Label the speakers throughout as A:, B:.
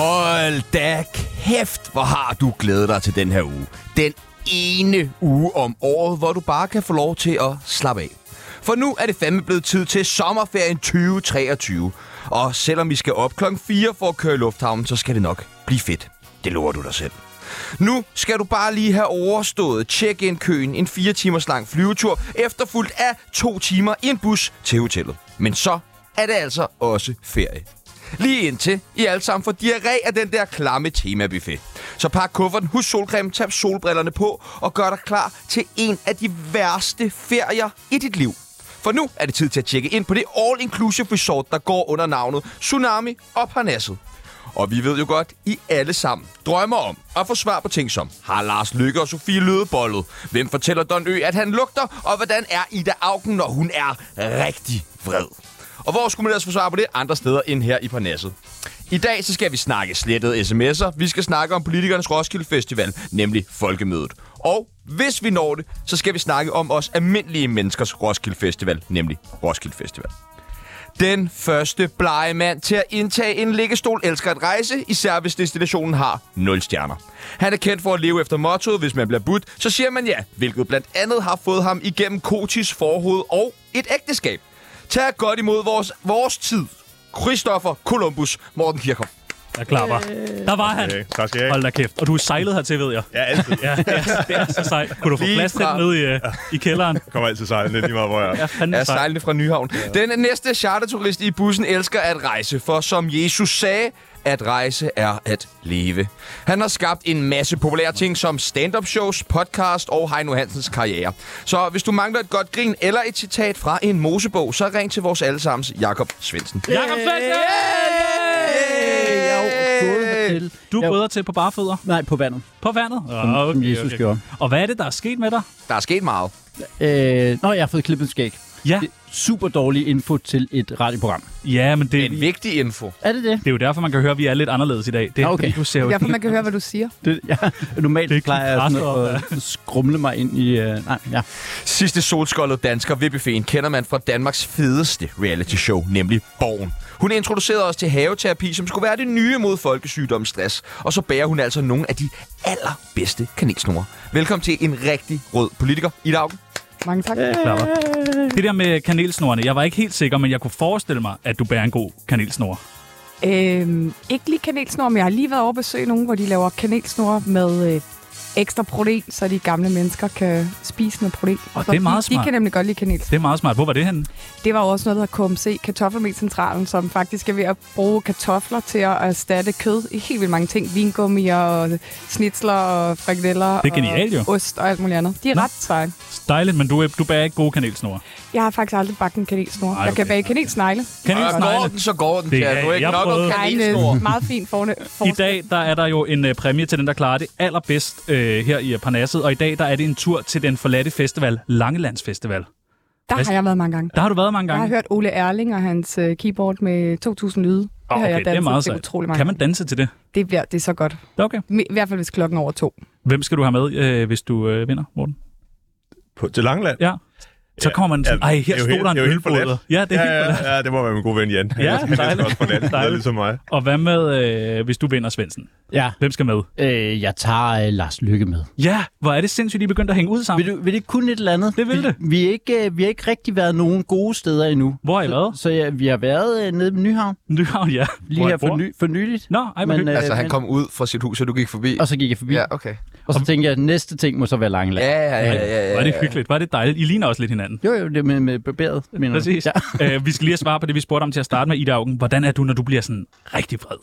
A: Hold da kæft, hvor har du glædet dig til den her uge. Den ene uge om året, hvor du bare kan få lov til at slappe af. For nu er det fandme blevet tid til sommerferien 2023. Og selvom vi skal op klokken 4 for at køre i lufthavnen, så skal det nok blive fedt. Det lover du dig selv. Nu skal du bare lige have overstået check-in-køen, en 4 timers lang flyvetur, efterfulgt af to timer i en bus til hotellet. Men så er det altså også ferie. Lige indtil I alle sammen får diarré af den der klamme temabuffet. Så pak kufferten, husk solcreme, tag solbrillerne på og gør dig klar til en af de værste ferier i dit liv. For nu er det tid til at tjekke ind på det all-inclusive resort, der går under navnet Tsunami og Parnasset. Og vi ved jo godt, I alle sammen drømmer om at få svar på ting som Har Lars Lykke og Sofie Lødebollet? Hvem fortæller Don Ø, at han lugter? Og hvordan er Ida Augen, når hun er rigtig vred? Og hvor skulle man ellers få svar på det? Andre steder end her i Parnasset. I dag så skal vi snakke slettede sms'er. Vi skal snakke om politikernes Roskilde Festival, nemlig Folkemødet. Og hvis vi når det, så skal vi snakke om os almindelige menneskers Roskilde Festival, nemlig Roskilde Festival. Den første blege mand til at indtage en liggestol elsker at rejse, især hvis destinationen har 0 stjerner. Han er kendt for at leve efter mottoet, hvis man bliver budt, så siger man ja, hvilket blandt andet har fået ham igennem Kotis forhoved og et ægteskab. Tag godt imod vores, vores tid. Christoffer Columbus Morten Kirchhoff.
B: Jeg klapper. Der var han.
C: Okay, tak skal I have.
B: Hold da kæft. Og du er sejlet hertil, ved jeg.
C: Ja, altid.
B: Ja, det er, det er så sejt. Kunne du få
A: Lige
B: plads til
A: fra-
B: den nede i, øh, i kælderen?
C: Jeg kommer altid sejlende lige meget, hvor jeg
B: Jeg er
C: er.
B: fandme
A: er
B: sej.
A: sejlende fra Nyhavn. Den næste charterturist i bussen elsker at rejse, for som Jesus sagde, at rejse er at leve. Han har skabt en masse populære ting som stand-up shows, podcast og Heino Hansens karriere. Så hvis du mangler et godt grin eller et citat fra en mosebog, så ring til vores allesammens Jakob Svendsen.
B: Jakob Svendsen!
A: Hey!
D: Jeg er jo gået hertil.
B: Du
D: Jeg-
B: er gået til på barefødder.
D: Nej, på vandet,
B: På vandet.
D: som,
B: Ah,
D: som Jesus gjorde.
B: Og hvad er det, der er sket med dig?
A: Der er sket meget.
D: Øh, nå, jeg har fået klippet skæg.
B: Ja,
D: Det er Super dårlig info til et radioprogram.
B: ja men det,
A: En vigtig info.
D: Er det det?
B: det er jo derfor, man kan høre, at vi er lidt anderledes i dag. Det er,
D: Ah, okay.
B: fordi du ser jo
E: Derfor man kan høre, hvad du siger.
D: det ja, normalt
B: Det er
D: plejer jeg sådan
B: klart,
D: at, at skrumle mig ind i... Øh, nej, ja.
A: Sidste solskoldede dansker ved buffeten kender man fra Danmarks fedeste reality show, nemlig Borgen. Hun introducerede os til haveterapi, som skulle være det nye mod folkesygdommen stress. Og så bærer hun altså nogle af de allerbedste kanelsnore. Velkommen til en rigtig rød politiker i dag.
E: Mange tak.
B: klapper. Det der med kanelsnorene, jeg var ikke helt sikker, men jeg kunne forestille mig, at du bærer en god kanelsnor.
E: Øhm, ikke lige kanelsnor, men jeg har lige været over at besøge nogen, hvor de laver kanelsnor med øh, ekstra protein, så de gamle mennesker kan spise noget protein.
B: Og
E: Så
B: det er meget
E: de, de
B: smart.
E: kan nemlig godt lide kanel.
B: Det er meget smart. Hvor var det henne?
E: Det var jo også noget, der hedder KMC, Kartoffelmelscentralen, som faktisk er ved at bruge kartofler til at erstatte kød i helt vildt mange ting. Vingummier og snitsler og frikadeller
B: Det er genialt, jo.
E: og ost og alt muligt andet. De er
B: Nå.
E: ret seje.
B: Dejligt, men du, er- du bærer ikke gode kanelsnore.
E: Jeg har faktisk aldrig bagt en kanelsnor.
B: Ej,
E: Jeg kan
B: okay.
E: bage kanelsnegle.
A: Og går
B: Kanelsnegle.
A: den, så går den.
B: Det
A: Det er,
B: er-
A: du er ikke
B: jeg
A: nok om
B: prøvede.
E: Der er en øh,
A: kanelsnore.
E: meget fin forne.
B: I dag der er der jo en øh, præmie til den, der klarer det allerbedst øh, her i øh, Parnasset, og i dag der er det en tur til den forladte festival, Langelandsfestival.
E: Der har jeg været mange gange.
B: Der har du været mange
E: Jeg
B: gange.
E: har hørt Ole Erling og hans øh, keyboard med 2.000 lyde. Det
B: Åh,
E: har jeg
B: det er
E: danset
B: meget
E: til
B: sejt.
E: utrolig mange
B: Kan man danse til det?
E: gange. Det, bliver, det er så godt.
B: Det er okay.
E: Me- I hvert fald hvis klokken er over to.
B: Hvem skal du have med, øh, hvis du øh, vinder, Morten?
C: På, til Langland.
B: Ja. Så
C: Ja,
B: kommer man sådan,
C: ja,
B: ej,
C: det er
B: her
C: jo
B: stod
C: helt-
B: der
C: det er
B: en
C: jo helt forladt.
B: ølbryder. Ja, det er
C: Ja,
B: helt forladt.
C: ja, ja, det må være min gode ven Jan. Ellers er han
B: dejligt.
C: også på land,
B: Dejligt.
C: ligesom mig.
B: Og hvad med, øh, hvis du vinder, Svendsen?
D: ja.
B: Hvem skal med?
D: Øh, jeg tager øh, Lars Lykke med.
B: Ja, hvor er det sindssygt, I er begyndt at hænge ud sammen.
D: Vil, du, vil det kun et eller andet?
B: Det vil det.
D: Vi, vi, er ikke, øh, vi har ikke rigtig været nogen gode steder endnu.
B: Hvor har I været?
D: Så ja, vi har været øh, nede ved Nyhavn
B: Nyhavn, ja.
D: lige
B: Hvor
D: her
B: jeg bor.
D: for, ny, for nyligt.
B: Nå, ej, men,
D: Men,
B: øh,
D: øh,
A: Altså, han
D: men-
A: kom ud fra sit hus, og du gik forbi.
D: Og så gik jeg forbi, ja.
A: Ja, okay.
D: og så tænkte jeg, at næste ting må så være Langeland.
A: Ja, ja, ja,
C: øh,
A: ja,
B: var
A: ja,
B: det
A: ja.
B: hyggeligt. Var det dejligt. I ligner også lidt hinanden.
D: Jo, jo, det med, med barberet, mener du?
B: Præcis.
D: Mm. Ja.
B: Ja. Øh, vi skal lige have svar på det, vi spurgte om til at starte med, Ida Augen. Hvordan er du, når du bliver sådan rigtig vred?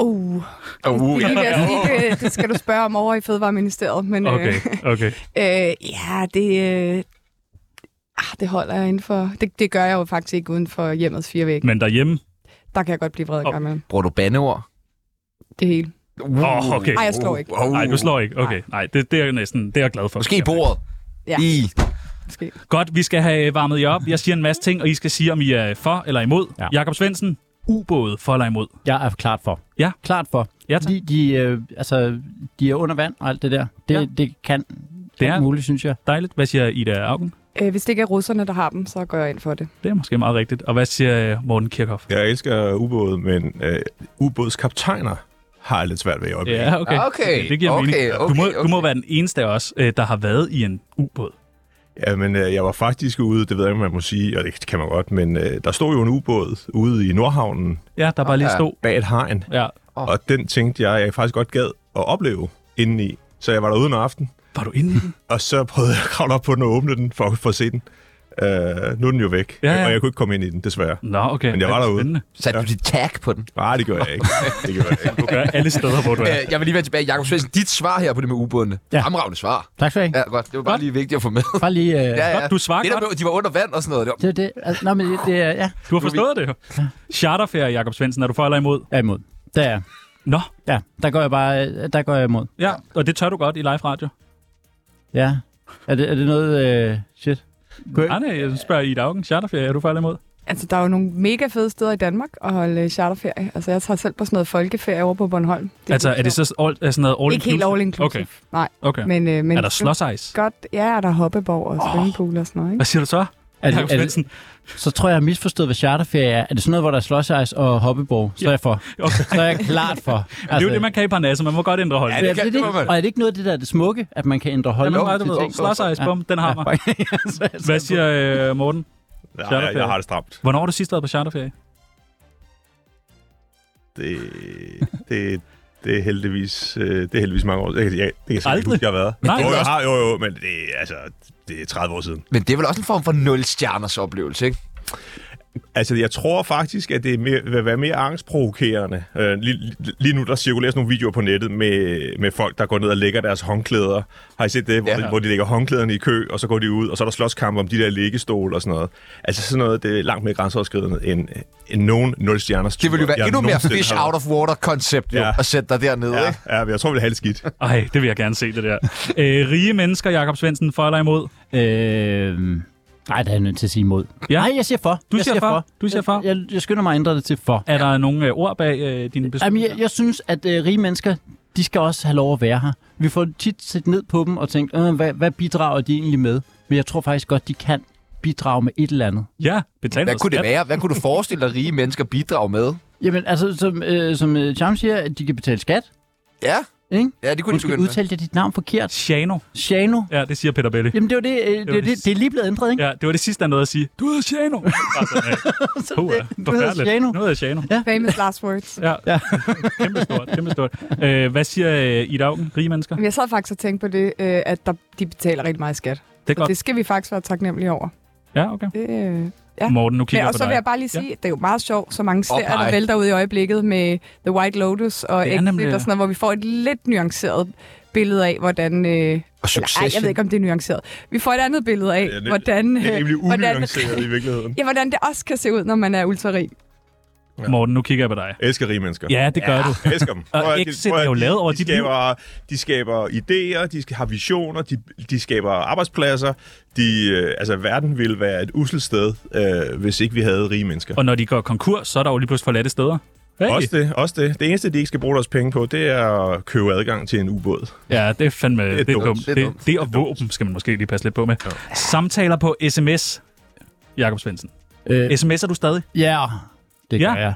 E: Uh,
A: Og uh,
E: det,
A: ja.
E: vil jeg sige, det, det skal du spørge om over i Fødevareministeriet. Men,
B: Okay,
E: øh,
B: okay.
E: øh, ja, det, øh, ah, det holder jeg indenfor. Det, det gør jeg jo faktisk ikke uden for hjemmets fire vægge.
B: Men derhjemme?
E: Der kan jeg godt blive vred en
B: Og-
E: gang imellem.
A: Bruger du bandeord?
E: Det hele.
A: Uh,
B: Åh, okay.
E: Ej, jeg slår ikke.
A: Uh, uh.
B: Nej, du slår ikke. Okay, nej, det, det er jeg næsten, det er jeg glad for.
A: Måske i bordet.
E: Ja.
A: I.
E: Måske.
B: Godt, vi skal have øh, varmet jer op. Jeg siger en masse ting, og I skal sige, om I er for eller imod. Ja.
D: Ja.
B: Jakob Svendsen, ubåde for eller imod?
D: Jeg er klart for.
B: Ja.
D: Klart for.
B: Ja, tak.
D: Fordi de, øh, altså, de er under vand og alt det der. Det,
B: Ja.
D: ja. det kan,
B: Det
D: det
B: er-
D: er muligt, synes jeg.
B: Dejligt. Hvad siger Ida Augen?
E: Øh, hvis det ikke er russerne, der har dem, så går jeg ind for det.
B: Det er måske meget rigtigt. Og hvad siger øh, Morten Kirchhoff?
C: Jeg elsker ubåde, men øh, ubådskaptajner har jeg lidt svært ved i øjeblikket.
B: Ja, Ah, okay.
A: Okay,
B: Det, det giver
A: okay,
B: mening.
A: okay,
B: du, må, du må
A: okay.
B: være den eneste af os, øh, der har været i en ubåd.
C: Ja, men øh, jeg var faktisk ude, det ved jeg ikke, om man må sige, og det kan man godt, men øh, der stod jo en ubåd ude i Nordhavnen
B: Ja, der bare lige
A: Ah, Ja.
B: stod.
C: bag et hegn,
B: Ja.
A: Åh.
C: og den tænkte jeg, jeg faktisk godt gad at opleve indeni. Så jeg var derude en aften,
B: Var du inde i den?
C: og så prøvede jeg at kravle op på den og åbne den, for, for at se den. Øh, nu er den jo væk,
B: Ja, ja.
C: og jeg kunne ikke komme ind i den, desværre.
B: Nå, okay.
C: Men jeg var
B: Ja,
C: derude.
B: spændende.
A: Satte du dit tag på den?
C: Nej, det gjorde jeg ikke. Det gjorde jeg
B: Du
C: ikke.
B: gør alle steder, hvor du er.
A: Øh, jeg vil lige være tilbage. Jakob Svendsen, dit svar her på det med ubådene. Ja.
D: Ja.
A: Fremragende svar.
D: Tak skal du have.
A: Ja, godt. Det var bare
D: Godt.
A: lige vigtigt at få med.
D: Bare lige... Øh,
A: Ja,
D: ja.
A: ja.
B: Godt, du svarer
A: det der
B: godt.
A: med, de var under vand og sådan noget. Det var,
D: Det er det. Altså, nå, men det, det er... Ja,
B: Du har forstået det jo. Charterferie, Jakob Svendsen, er du for eller imod?
D: jeg er imod. Der er jeg.
B: Nå,
D: Ja, der går jeg bare... øh, Der går jeg imod.
B: ja. Og det tør du godt i live radio.
D: Ja. Er det, er det noget... Øh, shit. Kunne
B: Nej,
D: jeg,
B: nej, jeg spørger i Augen. Charterferie, er du for eller imod?
E: Altså, der er jo nogle mega fede steder i Danmark at holde øh, charterferie. Altså, jeg tager selv på sådan noget folkeferie over på Bornholm.
B: Det altså, er det så all, er sådan noget all
E: Ikke helt all inclusive.
B: Okay,
E: Nej,
B: okay. Men,
E: men, øh, men
B: er der slåsejs?
E: Godt, ja, er der hoppeborg og svømmepool og sådan noget, ikke?
B: Hvad siger du så?
D: er
B: Jakob
D: det, er det,
B: Svendsen?
D: så tror jeg, jeg har misforstået, hvad charterferie er. Er det sådan noget, hvor der er slåsejs og hoppeborg? Så er jeg for.
B: Okay.
D: Så er jeg klart for. Altså,
B: Det er jo det, man kan i Parnasse. Man må godt ændre
A: Ja,
B: holdning.
A: det
D: Ja,
A: kan-
D: det,
A: det
D: det,
A: må man.
D: og er det ikke noget af det der er det smukke, at man kan ændre
B: Jamen,
D: holdning?
B: nej, du
D: til
B: ved,
D: ting?
B: slåsejs, bum, den har mig.
D: så er jeg
B: Hvad
D: så-
B: siger øh, Morten?
C: Nej, jeg, jeg har det stramt.
B: Hvornår har du sidst været på charterferie?
C: Det, det, det er heldigvis, øh, det er heldigvis mange år. Det, kan- ja, det kan jeg slet
B: Aldrig.
C: ikke huske, jeg har været.
B: Nej.
C: jo, jeg har, jo, jo, men det, er, altså, det er 30 år siden.
A: Men det er vel også en form for nulstjerners oplevelse, ikke?
C: Altså, jeg tror faktisk, at det er mere, vil være mere angstprovokerende. Øh, lige, lige, nu, der cirkulerer sådan nogle videoer på nettet med, med folk, der går ned og lægger deres håndklæder. Har I set det, hvor,
A: Ja.
C: ja. hvor de lægger håndklæderne i kø, og så går de ud, og så er der slåskampe om de der liggestol og sådan noget. Altså, sådan noget, det er langt mere grænseoverskridende end, end nogen nulstjerners
A: Det ville jo
C: tur,
A: være
C: jeg
A: endnu mere
C: nogensinde
A: fish
C: har
A: out
C: været.
A: of water-koncept, jo,
C: Ja.
A: at sætte dig dernede, ikke?
C: Ja, ja, men jeg tror, vi vil have det skidt.
B: Ej, det vil jeg gerne se, det der. Øh, rige mennesker, Jakob Svendsen, for eller imod?
D: Øhm, nej, der er jeg nødt til at sige imod.
B: Ja.
D: Ja. Nej, jeg siger for.
B: Du
D: jeg
B: siger for. Du siger for.
D: Jeg, jeg, jeg skynder mig at ændre det til for.
B: Er der nogle øh, ord bag øh, dine beslutninger?
D: Jamen, jeg, jeg synes, at øh, rige mennesker, de skal også have lov at være her. Vi får tit set ned på dem og tænkt, øh, hvad, hvad bidrager de egentlig med? Men jeg tror faktisk godt, de kan bidrage med et eller andet.
B: Ja, betal
A: Hvad
B: noget
A: kunne det
B: skat.
A: være? Hvad kunne du forestille dig, rige mennesker bidrage med?
D: Jamen, altså, som, øh, som øh, Charm siger, at de kan betale skat,
A: Ja,
D: ikke?
A: ja det kunne de
D: Måske
A: begynde med.
D: udtalte jeg dit navn forkert.
B: Shano.
D: Shano.
B: Ja, det siger Peter Belli.
D: Jamen, det, var det, øh,
B: var
D: det, det,
B: det-
D: det er lige blevet ændret, ikke?
B: Ja, det var det sidste, han nåede at sige. Du hedder Shano. Bare sådan, øh,
D: Så
B: puha,
D: det, du hedder
B: forfærdeligt.
D: Shano.
B: Nu hedder jeg Shano.
E: Famous last words.
B: Ja, ja. kæmpe stort, kæmpe stort. Øh, hvad siger øh, Ida Augen, rige mennesker?
E: Men jeg sad faktisk og tænkte på det, øh, at der, de betaler rigtig meget i skat.
B: Det er
E: Så
B: godt.
E: det skal vi faktisk være taknemmelige over.
B: Ja, okay.
E: Det, øh, Ja.
B: Morten, nu kigger
E: Men,
B: jeg
E: og
B: på
E: så vil
B: dig.
E: jeg bare lige
B: Ja.
E: sige, ja. det er jo meget sjovt, så mange serier, der
A: pege.
E: vælter ud i øjeblikket med The White Lotus og
B: Det er
E: Exit
B: nemlig-
E: og sådan noget, hvor vi får et lidt nuanceret billede af, hvordan... Øh,
A: Og
E: eller, ej, jeg ved
A: Succession.
E: ikke, om det er nuanceret. Vi får et andet billede af,
C: Ja, det-
E: hvordan,
C: Det er
E: øh,
C: rimelig
E: hvordan,
C: unuanceret i virkeligheden.
E: ja, hvordan det også kan se ud, når man er ultrarig.
B: Morten, nu kigger jeg på dig.
C: Jeg elsker rige mennesker.
B: Ja, det gør du.
C: Jeg elsker dem.
B: Og
C: Prøv at-
B: Exit
C: prøv at-
B: er jo lavet over
C: de
B: dit
C: skaber, De skaber idéer, de sk- har visioner, de, de skaber arbejdspladser. De, øh, altså, verden ville være et uselt sted, øh, hvis ikke vi havde rige mennesker.
B: Og når de går konkurs, så er der jo lige pludselig forladte steder. Hey.
C: Også det, også det. Det eneste, de ikke skal bruge deres penge på, det er at købe adgang til en ubåd.
B: Ja, det er fandme det er det er dumt. Det,
A: er
B: det,
A: dumt.
B: det og våben skal man måske lige passe lidt på med. Ja. Samtaler på sms, Jakob Svendsen.
D: Øh,
B: SMS'er du stadig?
D: Ja, det
B: Ja.
D: gør jeg.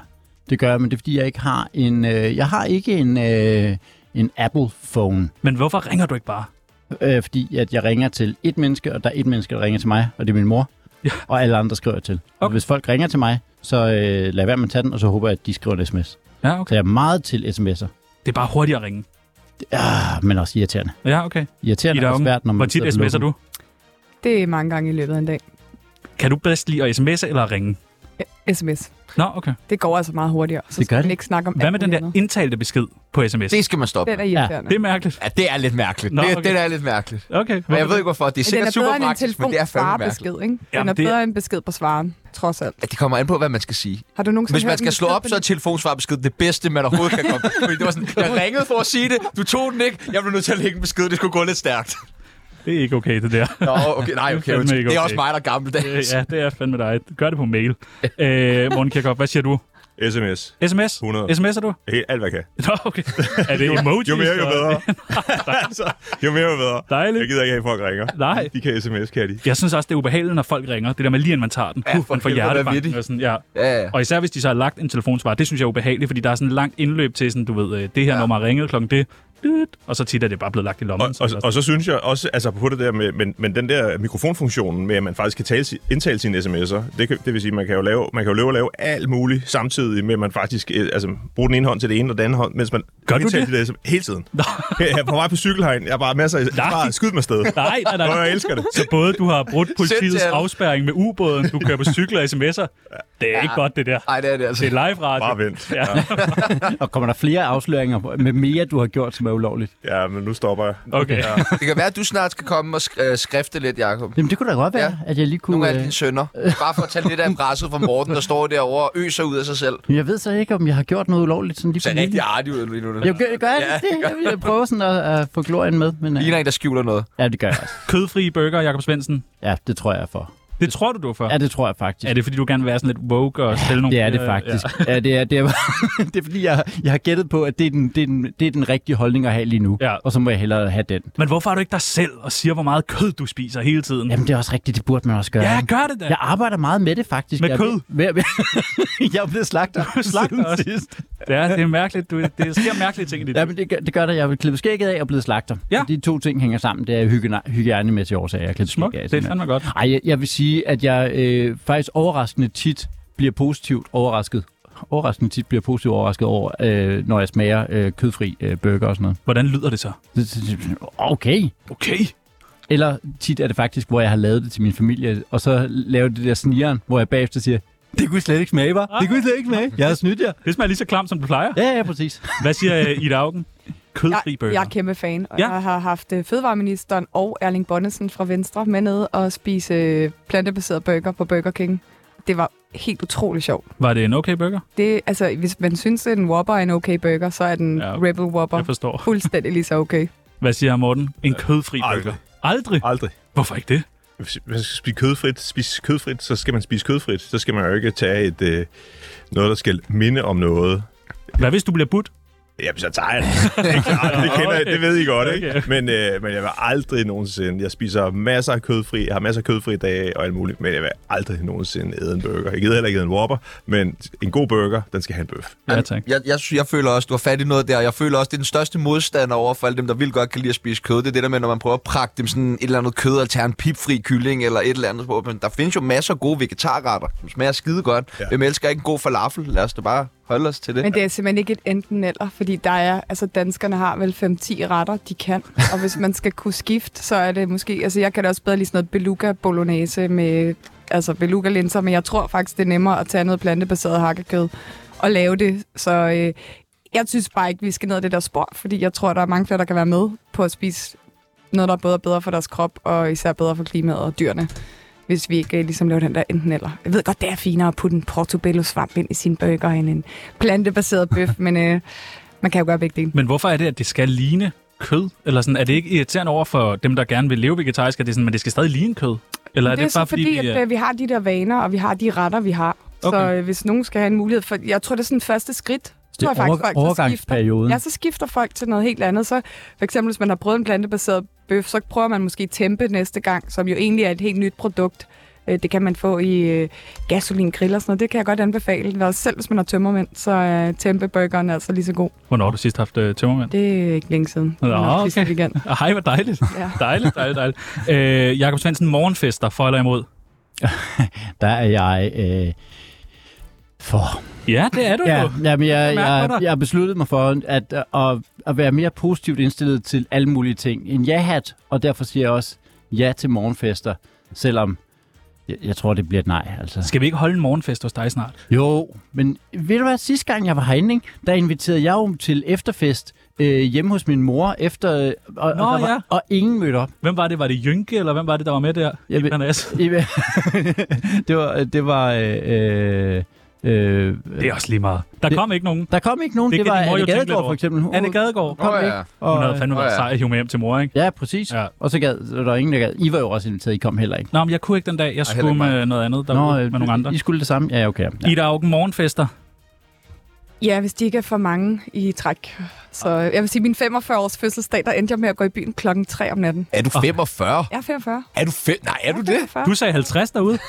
D: Det gør jeg, men det er fordi, jeg ikke har en... Øh, jeg har ikke en, øh, en Apple-phone,
B: Men hvorfor ringer du ikke bare?
D: øh, fordi at jeg ringer til et menneske, og der er et menneske, der ringer til mig, og det er min mor,
B: Ja.
D: og alle andre skriver jeg til. Okay. Og
B: Okay.
D: hvis folk ringer til mig, så øh, lad være med at tage den, og så håber jeg, at de skriver en sms.
B: Ja,
D: Så
B: okay.
D: jeg er meget til sms'er,
B: Det er bare hurtigt at ringe.
D: ah, men også irriterende.
B: Ja, okay.
D: Irriterende
B: Ida
D: er
B: Augen,
D: svært, når man
B: Hvor tit
D: sidder på
B: sms'er du?
D: lukken.
E: Det er mange gange i løbet af en dag.
B: Kan du bedst lide at sms'e eller ringe?
E: Ja, sms.
B: Nå, okay.
E: Det går altså meget hurtigere. Så
D: Det gør
E: skal man
D: det.
E: ikke snakke om
B: Hvad
E: alt
B: med den
E: muligt
B: der
E: andet.
B: indtalte besked på sms?
A: Det skal man stoppe
E: Den
A: med.
E: er irriterende.
B: Det er mærkeligt.
A: Ja, det er lidt mærkeligt.
B: Nå,
A: det,
B: okay.
A: det er lidt mærkeligt.
B: Okay.
A: Men jeg ved ikke, hvorfor. Det er
E: Men den
A: sikkert
E: er bedre
A: super
E: end en
A: praktisk, men det er
E: telefon
A: fandme mærkeligt.
E: svarebesked, ikke? Den
B: Jamen,
E: er
B: det er-
E: bedre end besked på svaren, trods alt.
A: Ja, det kommer an på, hvad man skal sige.
E: Har du nogensinde
A: Hvis man
E: hørt
A: skal
E: en
A: slå op, så
E: besked på
A: er telefonsvar det bedste, man overhovedet kan komme. Fordi det var sådan, jeg ringede for at sige det, du tog den ikke, jeg blev nødt til at lægge en besked, det skulle gå lidt stærkt.
B: Det er ikke okay, det der.
A: Nå, okay, nej, okay,
B: fandme
A: okay.
B: ikke
A: Det er
B: okay.
A: også mig, der er gammeldags.
B: Øh, ja, det er fandme dig. Gør det på mail. Øh, Morten Kirchhoff, hvad siger du?
C: SMS.
B: SMS?
C: 100.
B: SMS'er du?
C: Helt alt, hvad jeg kan.
B: Nå, okay. Er det emojis?
C: Jo mere, jo
B: og-
C: bedre. altså, jo mere, jo bedre.
B: Dejligt.
C: Jeg gider ikke have, at folk ringer.
B: Nej.
C: De kan sms, kan de.
B: Jeg synes også, det er ubehageligt, når folk ringer. Det der med lige inden man tager den.
A: Ja,
B: Ja, uh,
A: for
B: man får
A: helvede,
B: hjertebanken
A: vanvittigt.
B: og sådan, ja.
A: Ja, ja.
B: Og især hvis de så har lagt en telefonsvar, det synes jeg er ubehageligt, fordi der er sådan et langt indløb til sådan, du ved, øh, det her ja. nummer er ringet klokken det, dyt, og så tit er det bare blevet lagt i lommen.
C: Og, og, og, så synes jeg også, altså på det der med, men, men den der mikrofonfunktionen med, at man faktisk kan tale, si- indtale sine sms'er, det, kan, det vil sige, man kan jo lave, man kan jo leve og lave alt muligt samtidig med, at man faktisk øh, altså, bruger den ene hånd til det ene og den anden hånd, mens man
B: Gør du
C: indtaler de der sms- hele tiden. Jeg er på vej på cykelhegn, jeg har bare masser af,
B: Nej.
C: bare skyd mig sted.
B: Nej, nej, nej.
C: Og jeg elsker det.
B: Så både du har brudt politiets
A: til alle.
B: afspærring med ubåden, du kører på cykler og sms'er. Det er ja. ikke godt, det der.
A: Ej, det er det altså.
B: Det er live radio.
C: Bare vent.
B: Ja.
D: Og kommer der flere afsløringer med mere, du har gjort, som er ulovligt?
C: Ja, men nu stopper jeg.
B: Okay. Ja.
A: Det kan være, at du snart skal komme og sk- øh, skrifte lidt, Jacob.
D: Jamen, det kunne da godt være,
A: Ja.
D: ja. at jeg lige
A: Nogle
D: kunne... øh,
A: af dine sønner. Bare for at tage lidt af presset fra Morten, der står derovre og øser ud af sig selv.
D: Øh, jeg ved så ikke, om jeg har gjort noget ulovligt sådan lige
A: Ser
D: på
A: rigtig
D: nylig.
A: artig ud lige nu.
D: Jeg gør, gør jeg
A: Ja,
D: det? Jeg vil prøve sådan at, at få glorien med, men øh,
A: Ligner en, der skjuler noget.
D: ja, det gør jeg også.
B: Kødfri burger, Jakob Svendsen.
D: Ja, det tror jeg er for.
B: Det tror du, du er for.
D: Ja, det tror jeg faktisk.
B: Er det, fordi du gerne vil være sådan lidt woke og sælge nogle...
D: Det er det
B: øh,
D: faktisk. Ja, det, er, det, er, det er fordi, jeg, jeg har gættet på, at det er, den, det, er den, det er den rigtige holdning at have lige nu.
B: Ja.
D: Og så må jeg hellere have den.
B: Ja. Men hvorfor er du ikke dig selv og siger, hvor meget kød du spiser hele tiden?
D: Jamen, det er også rigtigt. Det burde man også gøre.
B: ja gør det da.
D: Jeg arbejder meget med det, faktisk.
B: Med
D: jeg, er
B: kød?
D: ved- ved- jeg er blevet slagter.
B: slagter
D: siden
B: også.
D: sidst.
B: Ja, det er mærkeligt. Du, det sker mærkelige ting i dit
D: Ja,
B: ja,
D: men det, gør- det gør det. Jeg vil klippe skægget af og blevet slagter.
B: Ja.
D: De to ting hænger sammen. Det er hygiene, hygiejnemæssige årsager. Jeg klipper
B: Smuk.
D: skægget af,
B: Det er
D: simpelthen.
B: fandme godt.
D: Ej, jeg, jeg vil sige, at jeg øh, faktisk overraskende tit bliver positivt overrasket. Overraskende tit bliver positivt overrasket over, øh, når jeg smager øh, kødfri øh, burger og sådan noget.
B: Hvordan lyder det så?
D: Det- det- det- Okay.
B: Okay.
D: Eller tit er det faktisk, hvor jeg har lavet det til min familie, og så laver det der snigeren, hvor jeg bagefter siger, det kunne I slet ikke smage, var. Det kunne I slet ikke smage. Jeg har snydt jer.
B: Det smager lige så klamt, som du plejer.
D: Ja, ja, præcis.
B: Hvad siger uh, Ida Augen? Kødfri
E: Jeg,
B: burger.
E: jeg er kæmpe fan, og
B: Ja.
E: ja. jeg har haft øh, fødevareministeren og Erling Bonnesen fra Venstre med ned og spise øh, plantebaseret burger på Burger King. Det var helt utrolig sjovt.
B: Var det en okay burger?
E: Det, altså, hvis man synes, at en Whopper er en okay burger, så er den
B: Ja,
E: ja. Rebel Whopper
B: Jeg forstår.
E: fuldstændig lige så okay.
B: Hvad siger Morten? En kødfri
C: aldrig.
B: burger. Aldrig?
C: Aldrig.
B: Hvorfor ikke det?
C: Hvis man skal spise kødfrit, spise kødfrit, så skal man spise kødfrit. Så skal man jo ikke tage et, øh, noget, der skal minde om noget.
B: Hvad hvis du bliver budt?
C: Jamen, så tager jeg det. Det, er klart, det, kender, jeg, det ved I godt, ikke?
B: Okay.
C: Men, øh, men jeg vil aldrig nogensinde... Jeg spiser masser af kødfri, jeg har masser af kødfri dage og alt muligt, men jeg vil aldrig nogensinde æde en burger. Jeg gider heller ikke æde en Whopper, men en god burger, den skal have en bøf.
B: Ja, tak.
A: Jeg, jeg, sy- jeg føler også, du har fat i noget der. Jeg føler også, det er den største modstander over for alle dem, der vil godt kan lide at spise kød. Det er det der med, når man prøver at prakke dem sådan et eller andet kød, altså en pipfri kylling eller et eller andet. på. Men der findes jo masser af gode vegetarretter, som smager skide godt. Ja.
C: Ja.
A: Hvem elsker ikke en god falafel? Lad os da bare holde os til det.
E: Men det er simpelthen ikke et enten eller, fordi der er, altså danskerne har vel 5-10 retter, de kan. Og hvis man skal kunne skifte, så er det måske, altså jeg kan da også bedre lige sådan noget beluga bolognese med, altså beluga linser, men jeg tror faktisk, det er nemmere at tage noget plantebaseret hakkekød og lave det. Så øh, jeg synes bare ikke, vi skal ned ad det der spor, fordi jeg tror, der er mange flere, der kan være med på at spise noget, der er både bedre for deres krop, og især bedre for klimaet og dyrene hvis vi ikke øh, ligesom laver den der enten eller. Jeg ved godt, det er finere at putte en portobello-svamp ind i sin burger end en plantebaseret bøf, men øh, man kan jo gøre begge dele.
B: Men hvorfor er det, at det skal ligne kød? Eller sådan, er det ikke irriterende over for dem, der gerne vil leve vegetarisk, at det er sådan, men det skal stadig ligne kød? Eller er det,
E: det er så
B: bare fordi,
E: fordi,
B: vi,
E: at
B: er-
E: øh, vi har de der vaner, og vi har de retter, vi har. Okay. Så
B: Okay.
E: øh, hvis nogen skal have en mulighed for... Jeg tror, det er sådan første skridt.
D: Det er
E: tror jeg faktisk,
D: over-
E: folk, så
D: overgangsperioden.
E: Skifter, ja, så skifter folk til noget helt andet. Så for eksempel, hvis man har prøvet en plantebaseret bøf, så prøver man måske tempe næste gang, som jo egentlig er et helt nyt produkt. Øh, Det kan man få i øh, gasolingrill og sådan noget. Det kan jeg godt anbefale. Og Selv hvis man har tømmermænd, så er tempeburgeren altså lige så god.
B: Hvornår har du sidst haft uh, tømmermænd?
E: Det er ikke længe siden.
B: Nå,
E: Den er
B: okay.
E: frisk igen.
B: Ah, Hej, hvor dejligt.
E: Ja.
B: Dejligt, dejligt, dejligt. Øh, Jakob Svendsen, morgenfester, for eller imod?
D: Der er jeg... Øh, for.
B: Ja, det er du
D: Ja,
B: jo.
D: jamen, jeg,
B: mærker
D: jeg,
B: på dig.
D: jeg har besluttet mig for at, at, at være mere positivt indstillet til alle mulige ting end ja-hat, og derfor siger jeg også ja til morgenfester, selvom jeg, jeg tror, det bliver et nej. Altså.
B: Skal vi ikke holde en morgenfest hos dig snart?
D: Jo, men ved du hvad, sidste gang jeg var herinde, ikke, der inviterede jeg jo til efterfest øh, hjemme hos min mor, efter, øh, og,
B: Nå,
D: og, der var,
B: ja.
D: og ingen mødte op.
B: Hvem var det? Var det Jynke, eller hvem var det, der var med der?
D: Jeg ved-
B: Jonas.
D: I ved- det var... Det var øh, øh,
B: Det
D: øh,
B: er også lige meget. Der
D: Det-
B: kom ikke nogen.
D: der kom ikke nogen,
B: Det
D: det, det
B: kan
D: var
B: din mor jo
D: Anne
B: tænke lidt
D: Gadegaard
B: over.
D: for eksempel. Hun,
B: Anne Gadegaard.
A: Åh, ja.
D: og,
B: Hun havde fandme været
A: Åh, ja.
B: sej at hive med hjem til mor, ikke?
D: Ja, præcis.
B: Ja.
D: Ja. Og så gad, så var der ingen, der gad. I var jo også inviteret, I kom heller ikke.
B: Nå, men jeg kunne ikke den dag. Jeg
A: heller
B: skulle
A: ikke mig.
B: med noget andet derude Nå, med nogle andre.
D: I skulle det samme? Ja, okay. Ja.
B: Ida Augen morgenfester.
E: Ja, hvis de ikke er for mange i træk. Så jeg vil sige, min 45-års fødselsdag, der endte jeg med at gå i byen klokken 3 om natten.
A: Er du 45?
E: Jeg er 45.
A: Er du fem? Nej, er du
E: Jeg er
A: det?
E: 45.
B: Du sagde 50 derude.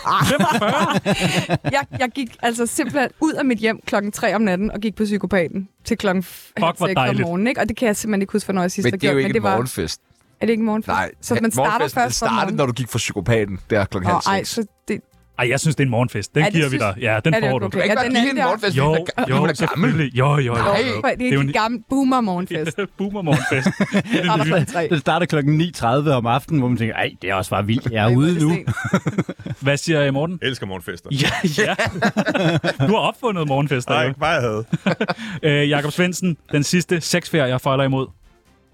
E: Jeg, jeg gik altså simpelthen ud af mit hjem klokken 3 om natten og gik på psykopaten til klokken f- halv
B: hvor
E: seks om
B: dejligt.
E: morgenen. Ikke? Og det kan jeg simpelthen ikke huske, hvornår jeg sidst
A: Men
E: har
A: det er
E: gjort.
A: jo ikke
E: men det
A: en
E: var,
A: morgenfest.
E: er det ikke en morgenfest?
A: Nej,
E: så man starter
A: morgenfesten
E: først om
A: startede,
E: morgenen.
A: når du gik for psykopaten der klokken halv
E: Nå, ej,
A: seks.
E: så det,
B: Ej, jeg synes, det er en morgenfest. Den
E: Ja,
B: ja,
E: det
B: giver vi dig.
E: synes-
B: Ja, den
E: Ja, det er
B: får du.
A: Du kan ikke
E: Ja,
A: bare
E: den
A: give
E: er
A: hende en
E: der.
A: morgenfest,
B: Jo,
A: fordi hun er-
B: jo,
A: hun er gammel.
B: selvfølgelig. Jo, jo, jo.
E: Nej,
B: jo.
E: for det
B: Det er jo
E: er
B: en-
E: en gammel boomer-morgenfest.
B: Boomer morgenfest.
E: Der er der klokken tre.
D: Det starter klokken 9.30 om aftenen, hvor man tænker, ej, det er også bare vildt, jeg er ude nu.
B: Hvad siger øh, Morten?
C: Jeg elsker morgenfester.
B: Ja, ja. Du har opfundet morgenfester.
C: Nej,
B: jo.
C: ikke bare jeg havde.
B: Øh, Jakob Svendsen, den sidste sexferie, jeg fejler imod.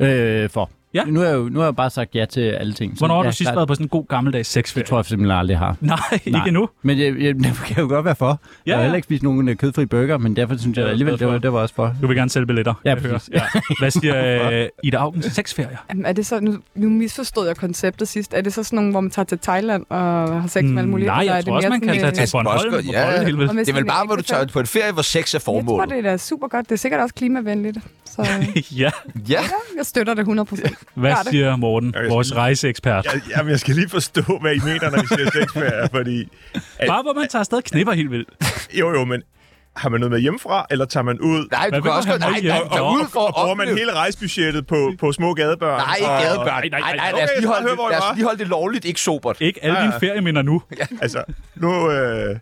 D: Øh, for.
B: Ja.
D: Nu har jeg jo nu har jeg bare sagt ja til alle ting. så
B: Hvornår har
D: ja,
B: du sidst
D: der-
B: været på sådan en god gammeldags
D: Det
B: sexferie?
D: tror jeg simpelthen aldrig, jeg har.
B: Nej, ikke endnu.
D: Men jeg, jeg, det kan jeg jo godt være for. Ja, jeg
B: Ja,
D: har
B: ja.
D: heller ikke spist nogen øh, kødfri burger, men derfor synes
B: Det er
D: jeg
B: jeg
D: alligevel,
B: glad for.
D: det var, det var også for.
B: Du vil gerne sælge billetter.
D: Ja,
B: jeg hører.
D: præcis.
B: Ja. Hvad siger øh, Ida Augen? Sexferie.
E: Jamen, er det så, nu, nu misforstod jeg konceptet sidst. Er det så sådan nogle, hvor man tager til Thailand og har sex med alle mulige?
B: Mm, Nej,
E: eller er
B: jeg
E: det
B: tror også,
E: mere
B: man kan
E: sådan,
B: tage
E: øh,
B: til
A: Altså,
B: Bornholm.
A: Bornholm, ja.
B: Bornholm, helvede.
E: Og med
A: Det er vel
E: sin
A: bare, hvor du
E: ægtefælle.
A: tager på en ferie, hvor sex er
E: Jeg tror,
A: formålet.
E: det er da super godt. Det er sikkert også klimavenligt. Så ja,
B: Ja.
A: Ja,
E: jeg støtter det 100 procent.
B: Hvad
E: Gør det.
B: siger Morten,
C: Jeg kan
B: vores
C: sige-
B: rejseekspert?
C: Jeg, jamen, jeg skal lige forstå, hvad I mener, når I siger sexferie, fordi... At,
B: Bare hvor man tager afsted og knipper helt vildt.
C: jo, jo, men har man noget med hjemmefra, eller tager man ud?
A: nej, du
B: Hvad
A: kan
B: vil
A: også
B: han
A: godt... Nej,
B: have
A: nej,
B: hjem?
A: tag ud for
C: og
A: at
C: bruger man
A: opleve...
C: hele rejsebudgettet på, på små gadebørn?
A: Nej, ikke
C: og-
A: gadebørn.
B: Nej,
A: Nej,
B: nej,
A: nej,
B: nej,
A: lad os
C: okay,
A: lige
C: så
A: holde
C: hører,
A: det-
C: hvor I
A: lad
C: var.
A: os lige holde det lovligt, ikke sobert.
B: Ikke alle dine
C: Ja.
B: ferieminder nu.
C: Altså, nu... Øh,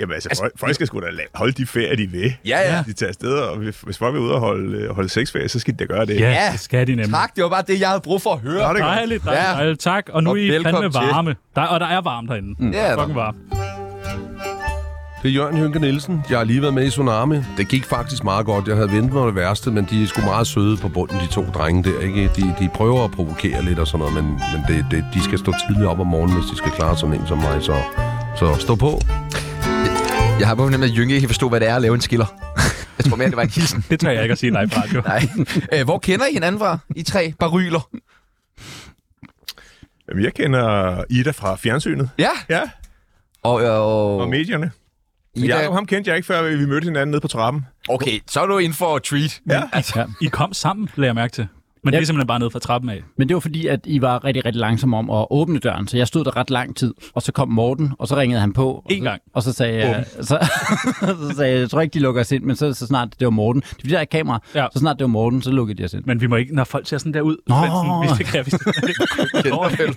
C: jamen, altså, altså folk, folk skal sgu da la- holde de ferier, de vil.
A: Ja, ja.
C: De tager afsted, og hvis, hvis folk vil ud og holde, øh, holde sexferie, så skal de da gøre det.
B: Ja, det skal de nemlig.
A: Tak, det var bare det, jeg havde brug for at høre.
C: Nå, det er godt.
B: Dejligt, dejligt,
A: Ja.
B: dejligt. Tak. Og nu
A: Og
B: er I
A: velkommen
B: fandme
A: til.
B: varme. Der, og der er varmt herinde. Mm.
A: Det er der.
B: Fucking varmt.
F: Det er Jørgen Hynke Nielsen. Jeg har lige været med i Tsunami. Det gik faktisk meget godt. Jeg havde ventet mig det værste, men de er sgu meget søde på bunden, de to drenge der. Ikke? De, de prøver at provokere lidt og sådan noget, men, men det, det, de skal stå tidligt op om morgenen, hvis de skal klare sådan en som mig. Så, så stå på.
A: Jeg har på fornemmelsen, at Jynke ikke forstod, hvad det er at lave en skiller. jeg tror mere, det var en hilsen.
B: Det tør jeg ikke at sige nej fra. Jo.
A: Nej. Øh, hvor kender I hinanden fra? I tre baryler.
C: Jamen, jeg kender Ida fra fjernsynet.
A: Ja.
C: Ja,
A: Og, øh, og,
C: og medierne.
A: Ida,
C: Jeg, ham kendte jeg ikke, før vi mødte hinanden nede på trappen.
A: okay, så er du inden for treat.
C: Ja.
D: Ja.
B: I kom sammen, lader jeg mærke til. Men det er simpelthen bare ned fra trappen af.
D: Men det var fordi, at I var rigtig, rigtig langsomme om at åbne døren, så jeg stod der ret lang tid, og så kom Morten, og så ringede han på. og
B: En
D: så-
B: gang.
D: Og så sagde jeg, så, så sagde jeg, jeg tror ikke, de lukker os ind, men så, så snart det var Morten. Det er fordi, der er et kamera.
B: Ja.
D: Så snart det var Morten, så lukkede de os ind.
B: Men vi må ikke, når folk ser sådan der ud. Svendsen, Hvis det kan, hvis det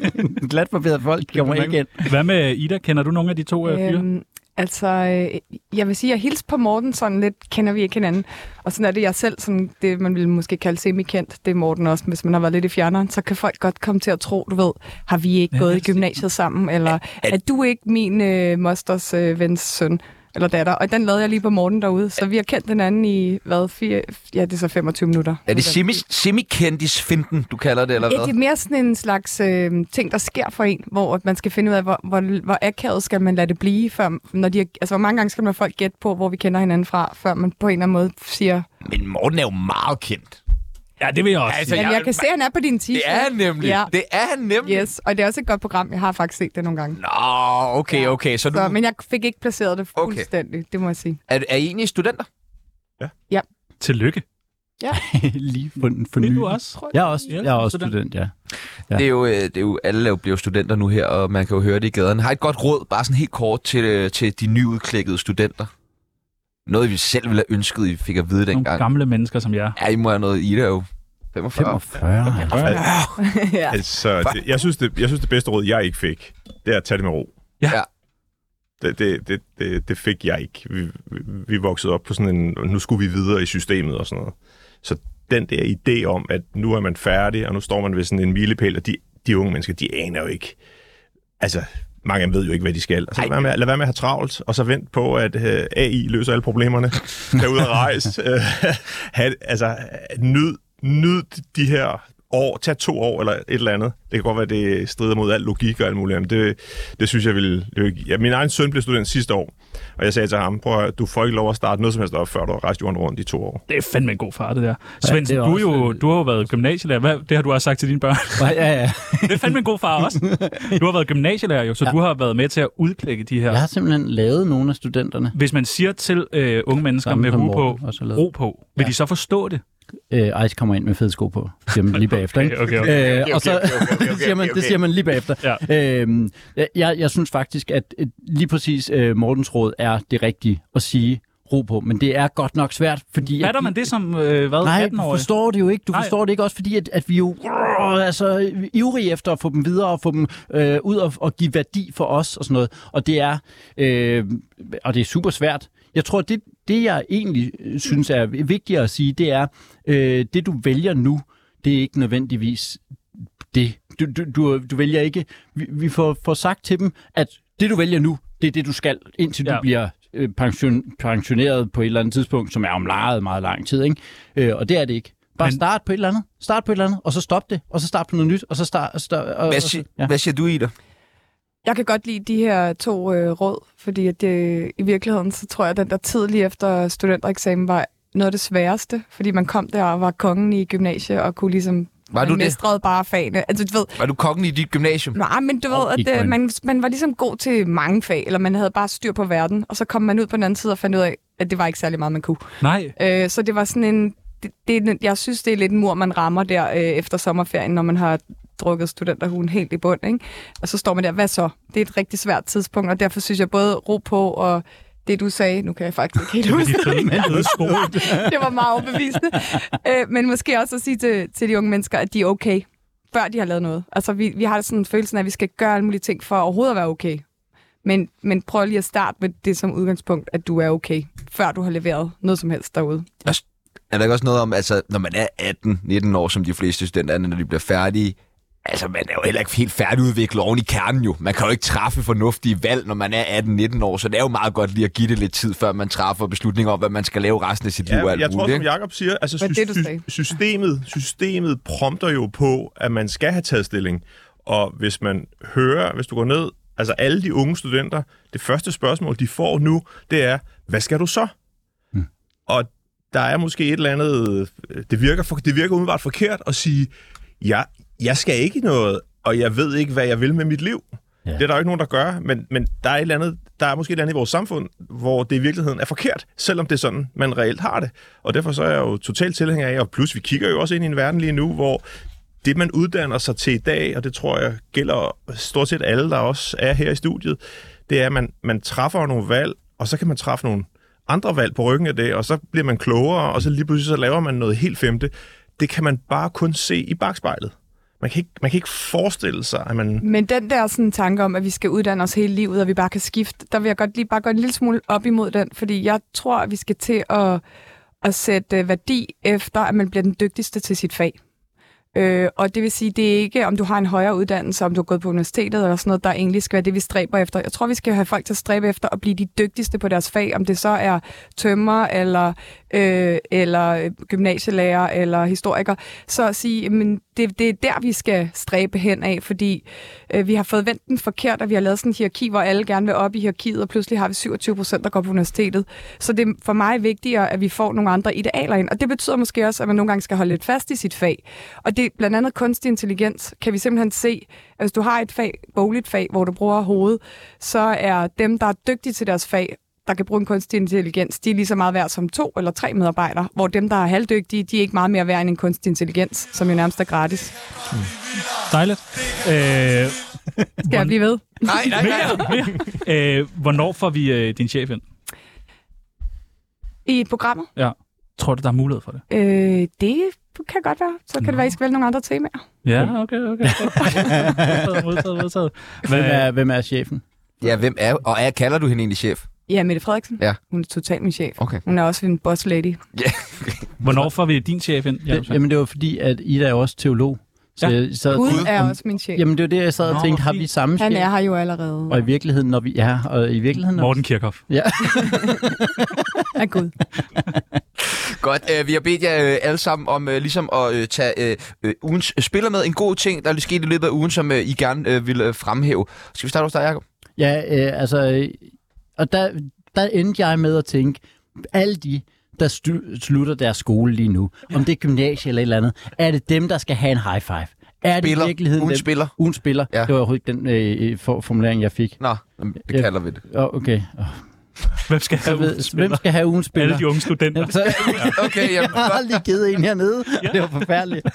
B: kan. Nå,
D: Glat barberet folk kommer ikke ind.
B: Hvad med Ida? Kender du nogle af de to øh, fyre?
E: Øhm, altså, øh, jeg vil sige, jeg hilste på Morten sådan lidt, kender vi ikke hinanden. Og sådan er det jeg selv, sådan det man ville måske kalde semi-kendt, det er Morten også, hvis man har været lidt i fjerneren, så kan folk godt komme til at tro, du ved, har vi ikke gået i gymnasiet sammen, eller er du ikke min øh, mosters øh, vens søn? eller datter, og den lavede jeg lige på Morten derude, så vi har kendt hinanden i, hvad, fire, ja, det er så 25 minutter.
A: Er det semi- semi-kendis 15, du kalder det, eller
E: Ja, det
A: hvad?
E: er mere sådan en slags øh, ting, der sker for en, hvor at man skal finde ud af, hvor, hvor, hvor akavet skal man lade det blive, før, når de, er- altså, hvor mange gange skal man folk gætte på, hvor vi kender hinanden fra, før man på en eller anden måde siger,
A: Men Morten er jo meget kendt.
B: Ja, det vil jeg også
A: Altså,
B: sige.
E: ja,
A: jeg-
E: jeg kan se, at han er på din t-shirt.
A: Det er han nemlig.
E: Ja.
A: Det er han nemlig.
E: Yes, og det er også et godt program. Jeg har faktisk set det nogle gange.
A: Nå, okay, okay. Så,
E: Så,
A: du,
E: men jeg fik ikke placeret det
A: Okay.
E: fuldstændig, det må jeg sige.
A: er, er I egentlig studenter?
B: Tillykke.
D: Lige for, for
B: Vil
D: ny.
B: du også, tror jeg?
D: Jeg er også,
B: Ja,
D: jeg er også
B: student.
D: student, ja.
A: Ja. Det, er jo, øh, det er jo, alle er jo- bliver jo studenter nu her, og man kan jo høre det i gaderne. Har I et godt råd, bare sådan helt kort, til, øh, til de nyudklækkede studenter? Noget, vi selv ville have ønsket, I fik at vide
B: Nogle
A: dengang.
B: gamle mennesker som jer.
A: Ja, I må have noget i det jo. 45.
D: 45.
E: ja.
C: Altså, det, jeg, synes, det, jeg synes, det bedste råd, jeg ikke fik, det er at tage det med ro.
B: Ja.
A: Ja.
C: Det, det, det, det, det fik jeg ikke. Vi, vi- vi voksede op på sådan en, nu skulle vi videre i systemet og sådan noget. Så den der idé om, at nu er man færdig, og nu står man ved sådan en milepæl, og de, de unge mennesker, de aner jo ikke. Altså, mange af dem ved jo ikke, hvad de skal. Altså, lad, være med, lad være med at have travlt, og så vent på, at øh, AI løser alle problemerne. Tag ud og rejse. Øh, ha, altså, nyd, nyd de her år, tag to år eller et eller andet. Det kan godt være, det strider mod al logik og alt muligt, men det, det synes jeg ville... det ville- Ja, min egen søn blev student sidste år, og jeg sagde til ham, prøv at, høre, du får ikke lov at starte noget som helst op, før du har rejst jorden rundt i to år.
B: Det er fandme en god far, det der. Svendsen,
D: det er
B: du, er
D: også-
B: jo, du har jo været gymnasielærer. Hvad, det har du også sagt til dine børn.
D: Ja, ja.
B: Det er fandme en god far også. Du har været gymnasielærer jo, så ja. du har været med til at udklække de her.
D: Jeg
B: Ja.
D: har simpelthen lavet nogle af studenterne.
B: Hvis man siger til øh, unge mennesker
D: Samme
B: med
D: som
B: ro på,
D: Morten også har lavet.
B: ro på, vil ja. de så forstå det?
D: Øh, ej, så kommer jeg ind med fede sko på. Det siger man lige bagefter, ikke?
B: Okay, okay, okay.
D: Øh, og så, det, siger man, det siger man lige bagefter. Øhm, jeg- jeg, jeg synes faktisk, at øh, lige præcis øh, Mortens råd er det rigtige at sige ro på, men det er godt nok svært, fordi...
B: Fatter
D: at,
B: man det som øh, hvad,
D: Nej, du
B: 18-årig?
D: forstår det jo ikke. Du
B: Nej.
D: Nej. forstår det ikke også, fordi at, at vi jo øh, altså, vi er ivrige efter at få dem videre og få dem øh, ud og, og give værdi for os og sådan noget. Og det er, øh, og det er super svært. Jeg tror, det, det jeg egentlig øh, synes er vigtigere at sige, det er, øh, det du vælger nu, det er ikke nødvendigvis det. Du, du, du, du vælger ikke. Vi, vi får, får sagt til dem, at det du vælger nu, det er det du skal, indtil ja.
B: Ja.
D: du bliver øh, pension, pensioneret på et eller andet tidspunkt, som er om meget, meget lang tid. Ikke? Øh, og det er det ikke. Bare
B: Men-
D: Men... start på et eller andet, start på et eller andet, og så stop det, og så start på noget nyt, og så start... Og start og,
A: Hvad,
D: og,
A: si-
D: så-
A: ja. hvad siger du, Ida?
E: Jeg kan godt lide de her to øh, råd, fordi at det, i virkeligheden, så tror jeg, at den der tid lige efter studentereksamen var noget af det sværeste, fordi man kom der og var kongen i gymnasiet og kunne ligesom...
A: Var du
E: man
A: det?
E: mestrede bare fagene. Altså, du ved,
A: Var du kongen i dit gymnasium?
E: nej, men du ved,
D: Og
E: at
D: gik på
E: øh,
D: en.
E: man, man var ligesom god til mange fag, eller man havde bare styr på verden, og så kom man ud på den anden side og fandt ud af, at det var ikke særlig meget, man kunne.
B: Nej,
E: Øh, så det var sådan en... Det, det, er en- jeg synes, det er lidt en mur, man rammer der øh, efter sommerferien, når man har drukket studenterhuen helt i bund. Ikke? Og så står man der, hvad så? Det er et rigtig svært tidspunkt, og derfor synes jeg både ro på og det, du sagde, nu kan jeg faktisk ikke helt huske det,
B: fede sko.
E: det var meget overbevisende, øh, men måske også at sige til, til de unge mennesker, at de er okay, før de har lavet noget. Altså, vi, vi har sådan en følelse af, at vi skal gøre alle mulige ting for overhovedet at være okay. Men, men prøv lige at starte med det som udgangspunkt, at du er okay, før du har leveret noget som helst derude.
A: Er der ikke også noget om, altså, når man er 18-19 år, som de fleste studenter er, når de bliver færdige, altså, man er jo heller ikke helt færdigudviklet oven i kernen jo. Man kan jo ikke træffe fornuftige valg, når man er 18-19 år, så det er jo meget godt lige at give det lidt tid, før man træffer beslutninger om, hvad man skal lave resten af sit liv. og
C: Ja,
A: alt
C: jeg tror,
A: muligt,
C: som
A: ikke?
C: Jacob siger, altså
E: Hvad
C: sy-
E: det, du
C: sy-
E: sagde?
C: systemet, systemet prompter jo på, at man skal have taget stilling. Og hvis man hører, hvis du går ned, altså alle de unge studenter, det første spørgsmål, de får nu, det er, hvad skal du så? Og der er måske et eller andet... Det virker, for, det virker umiddelbart forkert at sige, ja, jeg skal ikke noget, og jeg ved ikke, hvad jeg vil med mit liv. Ja. Det er der jo ikke nogen, der gør, men, men der, er et eller andet, der er måske et eller andet i vores samfund, hvor det i virkeligheden er forkert, selvom det er sådan, man reelt har det. Og derfor så er jeg jo totalt tilhænger af, og plus vi kigger jo også ind i en verden lige nu, hvor det, man uddanner sig til i dag, og det tror jeg gælder stort set alle, der også er her i studiet, det er, at man, man træffer nogle valg, og så kan man træffe nogle andre valg på ryggen af det, og så bliver man klogere, og så lige pludselig så laver man noget helt femte. Det kan man bare kun se i bagspejlet. Man kan ikke, man kan ikke forestille sig, at man...
E: Men den der sådan, tanke om, at vi skal uddanne os hele livet, og vi bare kan skifte, der vil jeg godt lige bare gå en lille smule op imod den, fordi jeg tror, at vi skal til at, at sætte øh, værdi efter, at man bliver den dygtigste til sit fag. Øh, og det vil sige, det er ikke, om du har en højere uddannelse, om du er gået på universitetet eller sådan noget, der egentlig skal være det, vi stræber efter. Jeg tror, vi skal have folk til at stræbe efter at blive de dygtigste på deres fag, om det så er tømmer eller, øh, eller gymnasielærer eller historiker. Så at sige, jamen, det, det er der, vi skal stræbe hen af, fordi øh, vi har fået vendt den forkert, at vi har lavet sådan en hierarki, hvor alle gerne vil op i hierarkiet, og pludselig har vi 27 procent, der går på universitetet. Så det er for mig vigtigere, at vi får nogle andre idealer ind. Og det betyder måske også, at man nogle gange skal holde lidt fast i sit fag. Og det er blandt andet kunstig intelligens, kan vi simpelthen se, at hvis du har et fag, bogligt fag, hvor du bruger hovedet, så er dem, der er dygtige til deres fag, der kan bruge en kunstig intelligens, de er lige så meget værd som to eller tre medarbejdere, hvor dem, der er halvdygtige, de er ikke meget mere værd end en kunstig intelligens, som jo nærmest er gratis.
B: Dejligt. Øh,
E: Skal jeg blive ved?
A: Nej, nej, nej.
B: mere. Øh, hvornår får vi øh, din chef ind?
E: I programmet?
B: Tror du, der er mulighed for det?
E: Øh, det kan godt være. Så kan det være, I skal vælge nogle andre temaer.
B: Ja, okay, okay. modtaget, modtaget, modtaget.
D: Hvem,
B: Hvad,
D: er, hvem er chefen?
A: Ja, hvem er, og er, kalder du hende egentlig chef?
E: Ja, Mette Frederiksen.
A: Ja.
E: Hun er totalt min chef.
A: Okay.
E: Hun er også en boss lady.
B: hvornår får vi din chef ind?
D: Ja,
B: Jacob?
D: det, jamen, det var fordi, at Ida er jo også teolog, Så ja. jeg sad,
E: Gud er også min chef.
D: jamen det var det, jeg sad og tænkte, har vi samme
E: Han
D: chef?
E: er her jo allerede.
D: Og i virkeligheden, når vi... Ja, og i virkeligheden... Når
B: Morten Kirchhoff.
D: Ja.
E: Er Gud.
A: Godt, øh, vi har bedt jer øh, alle sammen om øh, ligesom at øh, tage øh, øh, ugens spiller med. En god ting, der er sket i løbet af ugen, som øh, I gerne øh, vil øh, fremhæve. Skal vi starte hos dig, Jacob?
D: Ja, øh, altså, øh, og der, der endte jeg med at tænke, alle de, der stu- slutter deres skole lige nu, ja. om det er gymnasie eller et eller andet, er det dem, der skal have en high five? Er det
A: Spiller.
D: i virkeligheden
A: Ugen
D: dem?
A: spiller.
D: Ugen spiller.
A: Ja.
D: Ja. Det var overhovedet ikke den øh, for- formulering, jeg fik.
A: Nå, jamen, det
D: Ja.
A: kalder vi det.
D: Oh, okay. Oh,
B: Hvem skal
D: så
B: have ugens
D: ved, hvem
B: spiller?
D: skal have ugen spiller? Altså-
B: Alle de unge studenter.
D: Jamen, så,
A: Okay, jamen,
D: jeg har aldrig givet en hernede. Det var forfærdeligt.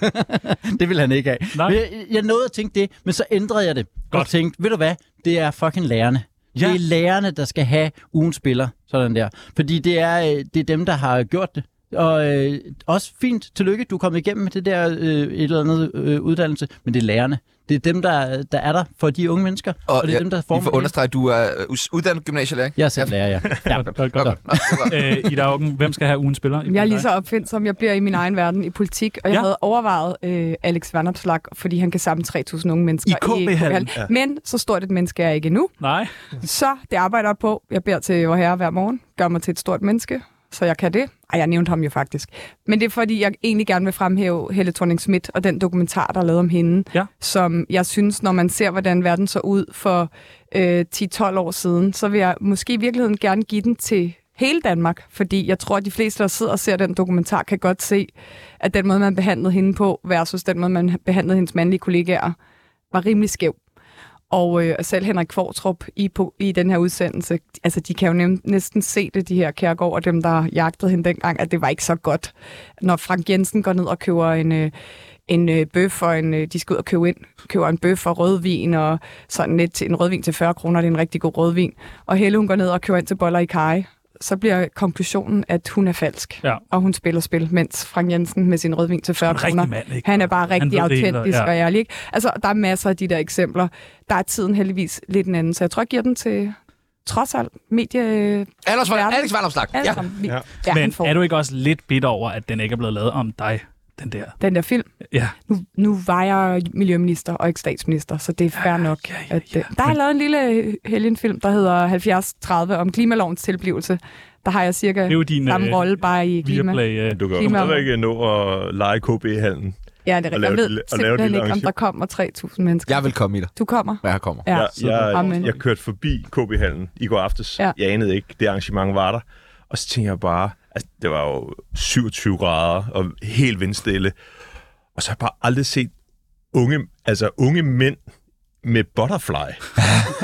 D: det ville han ikke have.
B: Nej.
D: Men Jeg, jeg nåede at tænke det, men så ændrede jeg det.
B: Godt.
D: Og tænkte, ved du hvad, det er fucking lærerne.
B: Ja.
D: Ja. Det er lærerne, der skal have ugen spiller. Sådan der. Fordi det er, øh, det er dem, der har gjort det. Og øh, også fint, tillykke, du er kommet igennem med det der øh, et eller andet øh, uddannelse, men det er lærerne. Det er dem, der, der er der for de unge mennesker, og, og det er
A: ja,
D: dem, der
A: lige for at
D: former det.
A: understrege, du er øh, us- uddannet gymnasielærer, ikke?
D: Jeg er selv lærer, ja. ja.
B: Godt, godt. Øh, Ida Auken, hvem skal have ugens spiller?
E: Jeg er lige så opfindsom. Jeg bliver i min egen verden i politik, og jeg
B: Ja.
E: ja. havde overvejet øh, Alex Vanopslag, fordi han kan samle 3.000 unge mennesker.
B: I KB -hallen.
E: KB -hallen. Men så stort et menneske er jeg ikke endnu.
B: Nej,
E: Så det arbejder jeg på. Jeg beder til vor herre hver morgen. Gør mig til et stort menneske, så jeg kan det. Ej, jeg nævnte ham jo faktisk. Men det er fordi, jeg egentlig gerne vil fremhæve Helle thorning Schmidt og den dokumentar, der er lavet om hende.
B: Ja.
E: Som jeg synes, når man ser, hvordan verden så ud for øh, 10-12 år siden, så vil jeg måske i virkeligheden gerne give den til hele Danmark, fordi jeg tror, at de fleste, der sidder og ser den dokumentar, kan godt se, at den måde, man behandlede hende på, versus den måde, man behandlede hendes mandlige kollegaer, var rimelig skæv. Og øh, selv Henrik Kvartrup i, på, i den her udsendelse, altså de kan jo nem, næsten se det, de her Kærgaard og dem, der jagtede hende dengang, at det var ikke så godt. Når Frank Jensen går ned og køber en, øh, en øh, bøf, og en, øh, de skal ud og købe ind, køber en bøf og rødvin, og sådan lidt til, en rødvin til 40 kroner, det er en rigtig god rødvin. Og Helle, hun går ned og køber ind til boller i kaj, så bliver konklusionen, at hun er falsk,
B: Ja.
E: og hun spiller spil, mens Frank Jensen med sin rødvin til 40
B: en rigtig
E: kroner,
B: mand, ikke?
E: han er bare
B: Han
E: rigtig
B: ved det hele,
E: autentisk,
B: ja.
E: og ærlig. Ikke? Altså, der er masser af de der eksempler. Der er tiden heldigvis lidt en anden, så jeg tror, jeg giver den til trods alt medie...
A: Alex, Van-
E: Verden.
A: Alex Vandopslag.
E: Alle
A: Ja.
E: sammen. Vi-
C: Ja.
E: ja, han
B: men
E: får
B: er du ikke også lidt bitter over, at den ikke er blevet lavet om dig, den der?
E: den der film.
B: Ja.
E: Nu, nu var jeg miljøminister og ikke statsminister, så det er fair nok.
B: ja, ja,
E: At,
B: ja.
E: øh, der er lavet en lille helgenfilm, der hedder 70-30 om klimalovens tilblivelse. Der har jeg cirka
B: Det er jo din
E: samme
B: øh,
E: rolle bare i klima.
B: Viaplay. Øh,
C: Du kan jo
E: Klima-
C: stadig ikke nå at lege KB-hallen.
E: Ja, det er
C: Og
E: rigtigt. Jeg
C: lave et
E: ved
C: lille- og lave et
E: simpelthen
C: lille
E: ikke, om der kommer 3.000 mennesker.
A: Jeg vil komme i dig.
E: Du kommer?
A: Ja, jeg kommer.
E: Ja.
C: Jeg, jeg,
E: Amen.
C: jeg kørte forbi KB-hallen i går aftes.
E: Ja.
C: Ja. Jeg anede ikke, det arrangement var der. Og så tænkte jeg bare, altså, det var jo 27 grader og helt vindstille. Og så har jeg bare aldrig set unge, altså unge mænd med butterfly.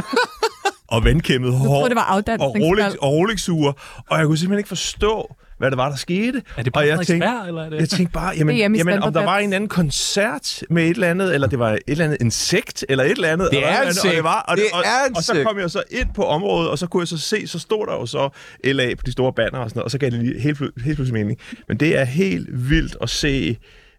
C: og vandkæmmet hår.
E: troede, det var
C: og
E: afdansningsvalg.
C: Rolex, og rolex -ure. Og jeg kunne simpelthen ikke forstå, hvad det var, der skete.
B: er det på
C: og jeg
B: Frederiksberg,
C: tænkte,
B: eller er det?
C: jeg tænkte bare, jamen,
E: Det er hjemme i
C: jamen om der
E: Standard
C: var
E: Dance.
C: en eller anden koncert med et eller andet, eller det var et eller andet insekt, eller et eller andet.
A: Det
C: eller
A: er
C: et eller andet, Og,
A: insekt.
C: det var, og,
A: Det
C: og,
A: er
C: og så
A: insekt.
C: kom jeg så ind på området, og så kunne jeg så se, så stod der jo så LA på de store banner og sådan noget, og så gav det lige helt, plu- helt pludselig mening. Men det er helt vildt at se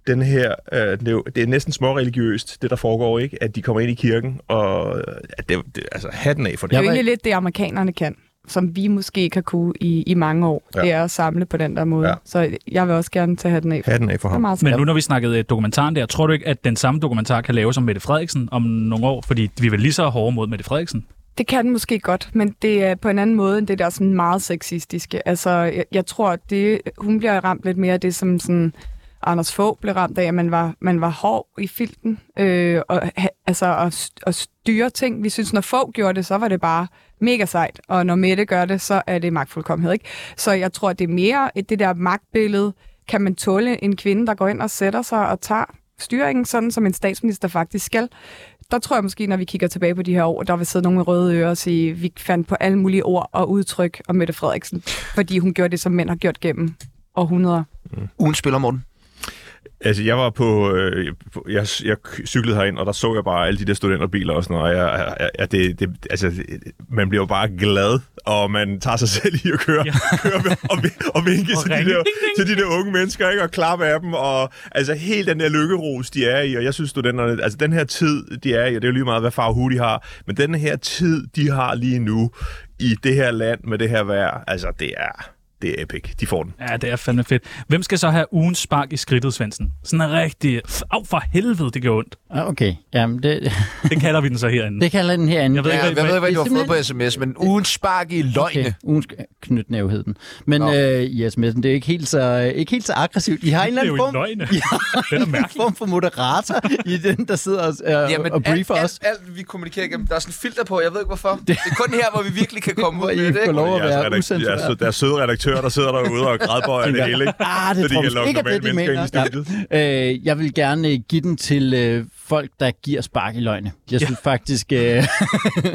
C: den her, øh, det, er jo, det er næsten småreligiøst, det der foregår, ikke? At de kommer ind i kirken, og øh, at det, det, altså hatten af for det.
E: Det er jo
D: Jeg var-
E: egentlig lidt det, amerikanerne kan, som vi måske ikke har kunne i, i mange år. Ja.
C: Ja.
E: Det er at samle på den der måde.
C: Ja.
E: Ja. Så jeg vil også gerne tage den af.
C: Hatten af for
E: Det er
C: ham.
E: meget
B: Men
E: svært.
B: nu når vi snakkede øh, dokumentaren der, tror du ikke, at den samme dokumentar kan laves om Mette Frederiksen om nogle år? Fordi vi er vel lige så hårde mod Mette Frederiksen.
E: Det kan den måske godt, men det er på en anden måde end det der sådan meget sexistiske. Altså, jeg, jeg tror, at det, hun bliver ramt lidt mere af det, som sådan Anders Fogh blev ramt af, at man var, man var hård i filten, øh, og, ha, altså, og, st- og styre ting. Vi synes, når Fogh gjorde det, så var det bare mega sejt, og når Mette gør det, så er det magtfuldkommenhed, ikke? Så jeg tror, at det er mere et, det der magtbillede, kan man tåle en kvinde, der går ind og sætter sig og tager styringen, sådan som en statsminister faktisk skal der tror jeg måske, når vi kigger tilbage på de her år, der vil sidde nogen med røde ører og sige, vi fandt på alle mulige ord og udtryk om Mette Frederiksen, fordi hun gjorde det, som mænd har gjort gennem århundreder.
A: Ugen spiller, Morten.
C: Altså, jeg var på... Øh, på- jeg, jeg cyklede herind, og der så jeg bare alle de der studenterbiler og sådan noget. Og jeg, jeg, jeg, det, det, altså, det- man bliver jo bare glad, og man tager sig selv i at køre, ja. køre med- og, vi- og vinke
B: Og
C: til, de
B: ringe.
C: der,
B: Ding, ding.
C: til de der unge mennesker, ikke? Og klappe af dem, og altså helt den der lykkeros, de er i. Og jeg synes, studenterne... Altså, den her tid, de er i, og det er jo lige meget, hvad far og hu de har, men den her tid, de har lige nu i det her land med det her vejr, altså, det er... det er epic. De får den.
B: Ja, det er fandme fedt. Hvem skal så have ugens spark i skridtet, Svendsen? Sådan en rigtig... Au, for helvede, det gør ondt.
D: Ah, Okay, jamen det,
B: Det kalder vi den så herinde.
D: det kalder den herinde.
B: Jeg ved ikke,
A: Jeg,
B: hvad-
A: jeg ved ikke, hvad
D: det
A: du
D: er
A: har fået på sms, men ugen spark i løgne.
D: Okay, ugens knytnævhed den. Men
A: Nå.
D: øh, yes, men det er ikke helt så, ikke helt så aggressivt. I har en eller
B: det er
D: anden
B: jo en
D: form,
B: løgne.
D: I har
B: Den er
D: en
B: mærkelig.
D: form for moderator i den, der sidder og, øh, Jamen, og briefer
A: alt,
D: os.
A: Alt, alt, vi kommunikerer igennem, der er sådan en filter på, jeg ved ikke hvorfor. Det, er kun her, hvor vi virkelig kan komme ud
D: Hvor
A: med
D: I
A: det.
D: får
A: ikke?
D: lov at
C: Jeg er
D: være
C: altså redakt- jeg er
D: usensureret.
C: sød- der er søde redaktører, der sidder derude og grædbøjer det hele. Ikke?
D: Ah, det
C: Fordi
D: tror
C: jeg
D: jeg
C: lokker
D: ikke er det,
C: normale
D: de
C: mennesker
D: mener.
C: ind i
D: Ja. Øh, jeg vil gerne øh, give den til øh, folk, der giver spark i løgne. Jeg synes ja. faktisk, øh,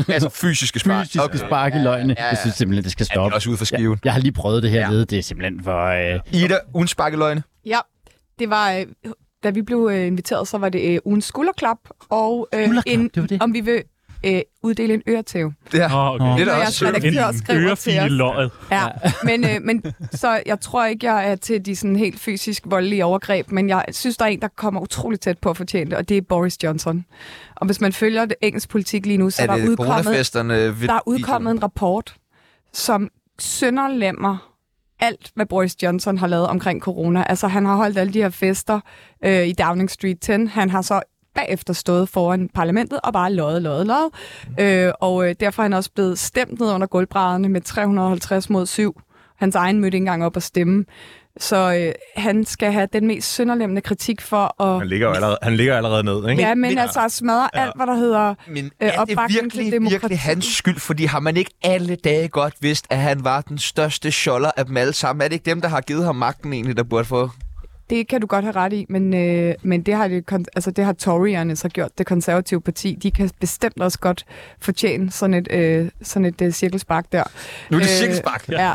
A: Altså fysiske spark.
D: fysisk okay. spark i løgne,
A: ja, ja.
D: jeg synes simpelthen, det skal
A: Ja, det
D: stoppe.
A: er også ude for skiven.
D: Jeg har lige prøvet det hernede, det er simpelthen for... Øh,
A: Ida, ugen spark i løgne.
E: Ja, det var... Øh, da vi blev øh, inviteret, så var det øh, ugens skulderklap, og øh,
D: Skulderklap,
E: en,
D: det var det.
E: om vi vil øh, uddele en øretæve.
A: Det her.
B: Nå, okay.
E: Det
A: Det er da
E: er
A: også
E: jeres
A: sødt.
E: redaktør
B: En
E: skriver til
B: ørefil i
E: os.
B: løget.
E: Ja, men, øh, men så jeg tror ikke, jeg er til de sådan helt fysisk voldelige overgreb, men jeg synes, der er en, der kommer utrolig tæt på at fortjene det, og det er Boris Johnson. Og hvis man følger det engelsk politik lige nu, så er,
A: Er
E: der,
A: det
E: udkommet,
A: coronafesterne? øh, ved-
E: der er udkommet en rapport, som sønderlemmer alt, hvad Boris Johnson har lavet omkring corona. Altså, han har holdt alle de her fester øh, i Downing Street 10. Han har så bagefter stået foran parlamentet og bare løjet, løjet, løjet. Øh, og øh, derfor er han også blevet stemt ned under gulvbrædderne med 350 mod 7. Hans egen mødte ikke engang op at stemme. Så øh, han skal have den mest sønderlemmende kritik for at...
C: Han ligger jo allerede, han ligger allerede ned. Ikke?
E: Ja, men altså at smadre alt, hvad der hedder...
A: Men
E: øh,
A: er det
E: opbakning til
A: virkelig,
E: demokrati.
A: virkelig hans skyld? Fordi har man ikke alle dage godt vidst, at han var den største sjoller af dem alle sammen? Er det ikke dem, der har givet ham magten egentlig, der burde få?
E: Det kan du godt have ret i, men, øh, men det, har det, kon- altså, det har Toryerne så gjort, det konservative parti. De kan bestemt også godt fortjene sådan et, øh, sådan et øh, cirkelspark der.
A: Nu er det
E: Øh,
A: cirkelspark.
E: Ja.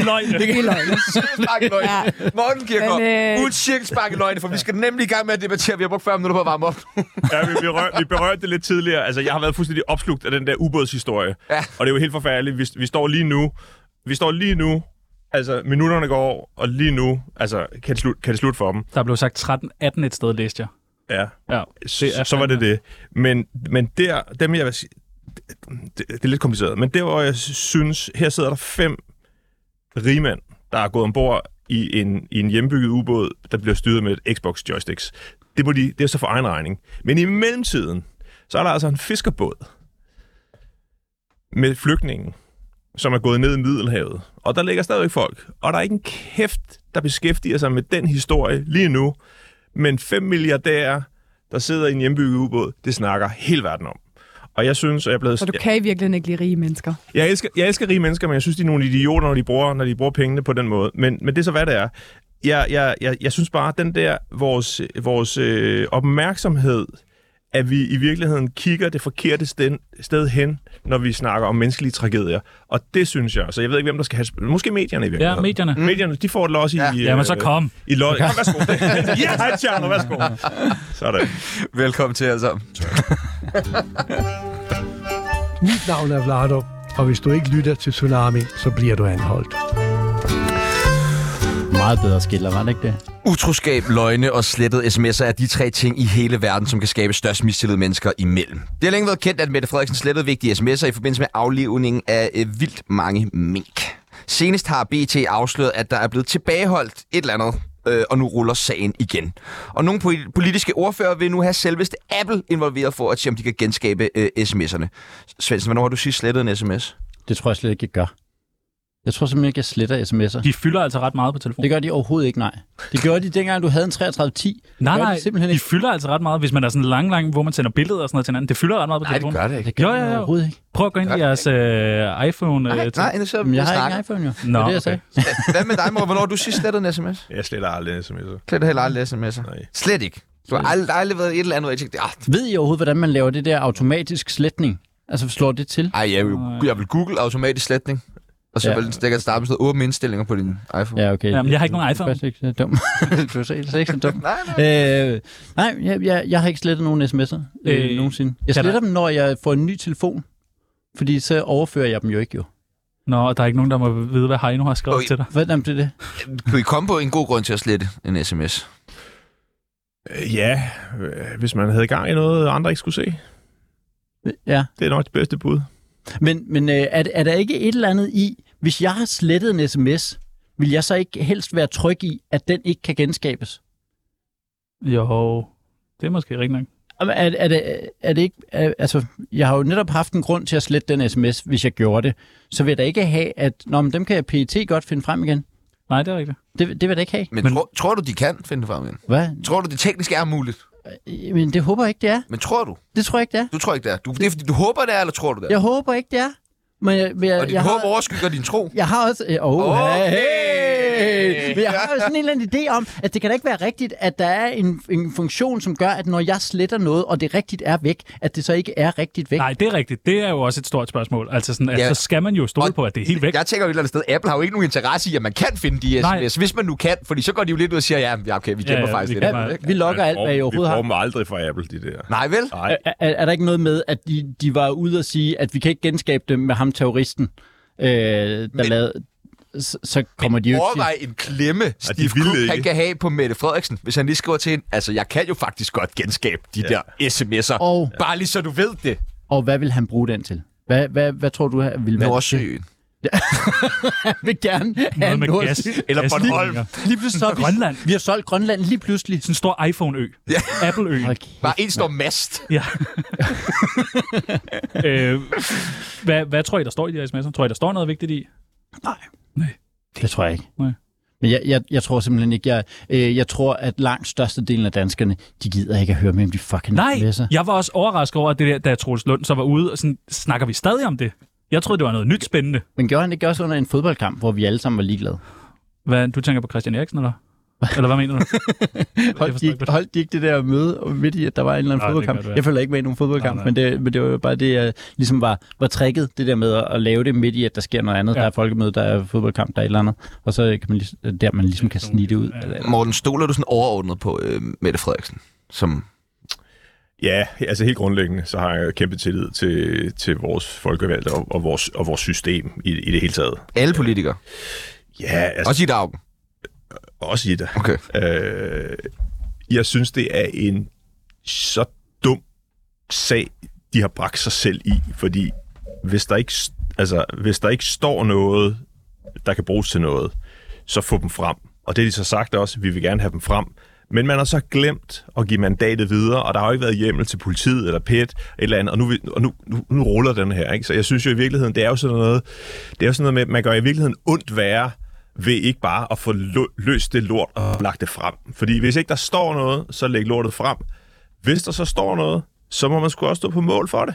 B: I løgne.
A: Det er løgne. Cirkelspark i løgne.
E: Ja.
A: Morten Kirkgaard,
E: Men, øh,
A: uden cirkelspark i løgne, for vi skal nemlig i gang med at debattere. Vi har brugt 40 minutter på at varme op.
C: Ja, vi, vi, rør, vi berørte det lidt tidligere. Altså, jeg har været fuldstændig opslugt af den der ubådshistorie.
A: Ja.
C: Og det er jo helt forfærdeligt. Vi, vi står lige nu. Vi står lige nu. Altså, minutterne går over, og lige nu altså, kan, det slut, kan det slutte for dem.
B: Der blev sagt 13-18 et sted, læste jeg.
C: Ja.
B: Ja,
C: det er så var det det. Men, men der, dem jeg vil sige, det, det, det er lidt kompliceret, men der hvor jeg synes, her sidder der fem rigmænd, der er gået ombord i en, i en hjembygget ubåd, der bliver styret med et Xbox joysticks. Det, må de, det er så for egen regning. Men i mellemtiden, så er der altså en fiskerbåd med flygtningen, som er gået ned i Middelhavet. Og der ligger stadigvæk folk. Og der er ikke en kæft, der beskæftiger sig med den historie lige nu. Men fem milliardærer, der sidder i en hjembygget ubåd, det snakker hele verden om. Og jeg synes, at jeg er blevet...
E: Så du
C: jeg-
E: kan i virkeligheden ikke lide rige mennesker.
C: jeg elsker, jeg elsker rige mennesker, men jeg synes, de er nogle idioter, når de bruger, når de bruger pengene på den måde. Men, men det er så, hvad det er. Jeg, jeg, jeg, jeg synes bare, at den der, vores, vores øh, opmærksomhed, at vi i virkeligheden kigger det forkerte sted, sted hen, når vi snakker om menneskelige tragedier. Og det synes jeg. Så jeg ved ikke, hvem der skal have... Måske medierne i virkeligheden.
B: medierne.
C: Mm. Medierne, de får det også
A: Ja.
C: i... øh,
B: Jamen, så kom.
C: I løg. Kom, værsgo. ja, hej, Tjerno, værsgo. Sådan.
A: Velkommen til alle sammen.
G: Mit navn er Vlado, og hvis du ikke lytter til Tsunami, så bliver du anholdt.
D: meget bedre skiller, var det ikke det?
A: Utroskab, løgne og slettet sms'er er de tre ting i hele verden, som kan skabe størst mistillid mennesker imellem. Det har længe været kendt, at Mette Frederiksen slettede vigtige sms'er i forbindelse med aflivningen af øh, vildt mange mink. Senest har BT afsløret, at der er blevet tilbageholdt et eller andet, øh, og nu ruller sagen igen. Og nogle poli- politiske ordfører vil nu have selveste Apple involveret for at se, om de kan genskabe øh, sms'erne. Svendsen, hvornår har du sidst slettet en sms?
D: Det tror jeg slet ikke, jeg gør. Jeg tror simpelthen ikke, jeg sletter sms'er.
B: De fylder altså ret meget på telefonen.
D: Det gør de overhovedet ikke, nej. Det gjorde de dengang, du havde en 3310.
B: Nej,
D: gør
B: nej,
D: de simpelthen
B: de
D: ikke.
B: fylder altså ret meget, hvis man er sådan lang, lang, hvor man sender billeder og sådan noget til hinanden. Det fylder ret meget på telefonen.
A: det
D: Det gør
B: Jo,
D: de
B: jo, jo.
D: overhovedet ikke.
B: Prøv at gå ind i jeres øh, iPhone. Øh,
A: Nej,
B: til-
A: nej, så
D: Jamen, jeg
A: jeg
D: har ikke
A: snakker.
D: en iPhone, jo. Det
B: Nå,
D: er det, jeg
B: okay.
D: sagde.
A: Hvad med dig, mor? Hvornår har du sidst slettet en sms?
C: Jeg sletter aldrig sms'er.
A: Slet heller aldrig sms'er.
C: Nej.
A: Slet ikke. Du har aldrig, aldrig været i et eller andet, hvor jeg tænkte, ah,
D: Ved I overhovedet, hvordan man laver det der automatisk sletning? Altså, slår det til?
A: ej, jeg vil, jeg vil google automatisk sletning. Og så
D: Ja.
A: ja. vil den sikkert starte med sådan noget åbne indstillinger på din iPhone.
D: Ja, okay.
B: Jamen, jeg har ikke
D: Du-
B: nogen
D: du er
B: iPhone.
D: faktisk ikke så dum. du er selv ikke så dum.
A: Nej, nej.
D: Øh, nej, jeg, jeg, jeg har ikke slettet nogen sms'er øh,
B: Øh,
D: nogensinde. Jeg
B: kan
D: sletter dem, når jeg får en ny telefon. Fordi så overfører jeg dem jo ikke, jo.
B: Nå, og der er ikke nogen, der må vide, hvad Heino har skrevet
A: Okay.
B: til dig.
D: Hvordan blev det?
A: Kunne I komme på en god grund til at slette en sms?
C: Øh, Ja, øh, hvis man havde gang i noget, andre ikke skulle se.
D: Ja.
C: Det er nok det bedste bud.
D: Men, men øh, er, er der ikke et eller andet i, hvis jeg har slettet en sms, vil jeg så ikke helst være tryg i, at den ikke kan genskabes?
B: Jo, det er måske rigtigt nok.
D: Jamen, Er, er, det, er det ikke, er, altså, jeg har jo netop haft en grund til at slette den sms, hvis jeg gjorde det. Så vil jeg da ikke have, at Nå, men dem kan jeg PET godt finde frem igen.
B: Nej, det er rigtigt.
D: Det, det vil jeg da ikke have.
A: Men, men... Tror, tror du, de kan finde det frem igen?
D: Hvad?
A: Tror du, det teknisk er muligt?
D: Men det håber jeg ikke, det er.
A: Men tror du?
D: Det tror jeg ikke, det er.
A: Du tror ikke, det er. Du, det er, fordi du håber, det er, eller tror du det er?
D: Jeg håber ikke, det er. Men jeg, men jeg,
A: Og dit
D: jeg,
A: håb
D: har,
A: overskygger din tro.
D: jeg har også... øh, Åh, oh,
A: Okay.
D: hey. Men jeg har jo sådan en eller anden idé om, at det kan da ikke være rigtigt, at der er en, en funktion, som gør, at når jeg sletter noget, og det rigtigt er væk, at det så ikke er rigtigt væk.
B: Nej, det er rigtigt. Det er jo også et stort spørgsmål. Altså, sådan, at
A: Ja.
B: så skal man jo stole
A: Og
B: på, at det er helt væk.
A: Jeg tænker jo et eller andet sted, Apple har jo ikke nogen interesse i, at man kan finde de
B: Nej.
A: sms, hvis man nu kan, fordi så går de jo lidt ud og siger, ja, ja, okay, vi
B: Ja,
A: gemmer
B: ja,
A: faktisk
B: vi
A: lidt.
B: gemmer-
A: af det, ikke?
D: Vi lokker alt, hvad jeg overhovedet
C: vi
D: har.
C: Vi bruger dem aldrig fra Apple, de der.
A: Nej, vel?
C: Nej.
D: Er, er, er der ikke noget med, at de, de var ude og sige, at vi kan ikke genskabe dem med ham terroristen, øh, der men, lavede... Så, så kommer de jo ikke
A: Overvej en klemme, Steve
C: ville
A: Cook, han
C: ikke.
A: kan have på Mette Frederiksen, hvis han lige skriver til hende, altså, jeg kan jo faktisk godt genskabe de
C: Ja.
A: der sms'er.
D: Og-
A: Bare lige så du ved det.
D: Og hvad vil han bruge den til? Hvad, hvad, hvad tror du, han vil være?
A: Nordsøen.
D: Han vil gerne have
B: Noget med
D: Nordsøen.
B: gas. Altså,
A: Eller
B: gas-
A: Bornholm.
D: Lige pludselig så er vi,
B: Grønland.
D: Vi har solgt Grønland lige pludselig.
B: Sådan en stor iPhone-ø.
A: Ja.
B: Apple-ø.
D: Hold kæft.
A: Bare en stor mast.
B: Ja. øh, hvad, hvad tror I, der står i de her sms'er? Tror I, der står noget vigtigt i?
D: Det tror jeg ikke.
B: Nej.
D: Men jeg, jeg, jeg tror simpelthen ikke, jeg, øh, jeg tror, at langt størstedelen af danskerne, de gider ikke at høre mere om de fucking
B: Nej,
D: sms'er.
B: jeg var også overrasket over, at det der, da Troels Lund så var ude, og sådan, snakker vi stadig om det? Jeg troede, det var noget nyt spændende.
D: Men gjorde han det ikke også under en fodboldkamp, hvor vi alle sammen var ligeglade?
B: Hvad, du tænker på Christian Eriksen, eller? Eller hvad mener du?
D: Holdt de,
B: forstår jeg
D: ikke,
B: godt.
D: holdt de ikke det der møde midt i, at der var en eller anden
B: Nej, det
D: fodboldkamp?
B: kan godt være.
D: Jeg følger ikke med i nogen fodboldkamp,
B: Nej,
D: men det, men det var jo bare det, jeg ligesom var, var tricket, det der med at, at lave det midt i, at der sker noget andet.
B: Ja.
D: Ja. Der er folkemøde, der er fodboldkamp, der er et eller andet. Og så kan man ligesom, der, man ligesom kan snige det ud. Ja.
A: Morten, stoler du sådan overordnet på øh, Mette Frederiksen? Som...
C: Ja, altså helt grundlæggende, så har jeg kæmpe tillid til, til vores folkevalgte og, og, vores, og vores system i, i det hele taget.
A: Alle politikere.
C: Ja, altså,
A: Også i dag.
C: også i det.
A: Okay.
C: Øh, jeg synes, det er en så dum sag, de har bragt sig selv i, fordi hvis der ikke, s- altså, hvis der ikke står noget, der kan bruges til noget, så få dem frem. Og det har de så sagt også, vi vil gerne have dem frem. Men man har så glemt at give mandatet videre, og der har jo ikke været hjemmel til politiet eller PET eller andet, og nu, vil- og nu, nu, nu ruller den her. Ikke? Så jeg synes jo i virkeligheden, det er jo sådan noget, det er jo sådan noget med, at man gør i virkeligheden ondt værre ved ikke bare at få lø- løst det lort og lagt det frem. Fordi hvis ikke der står noget, så læg lortet frem. Hvis der så står noget, så må man sgu også stå på mål for det.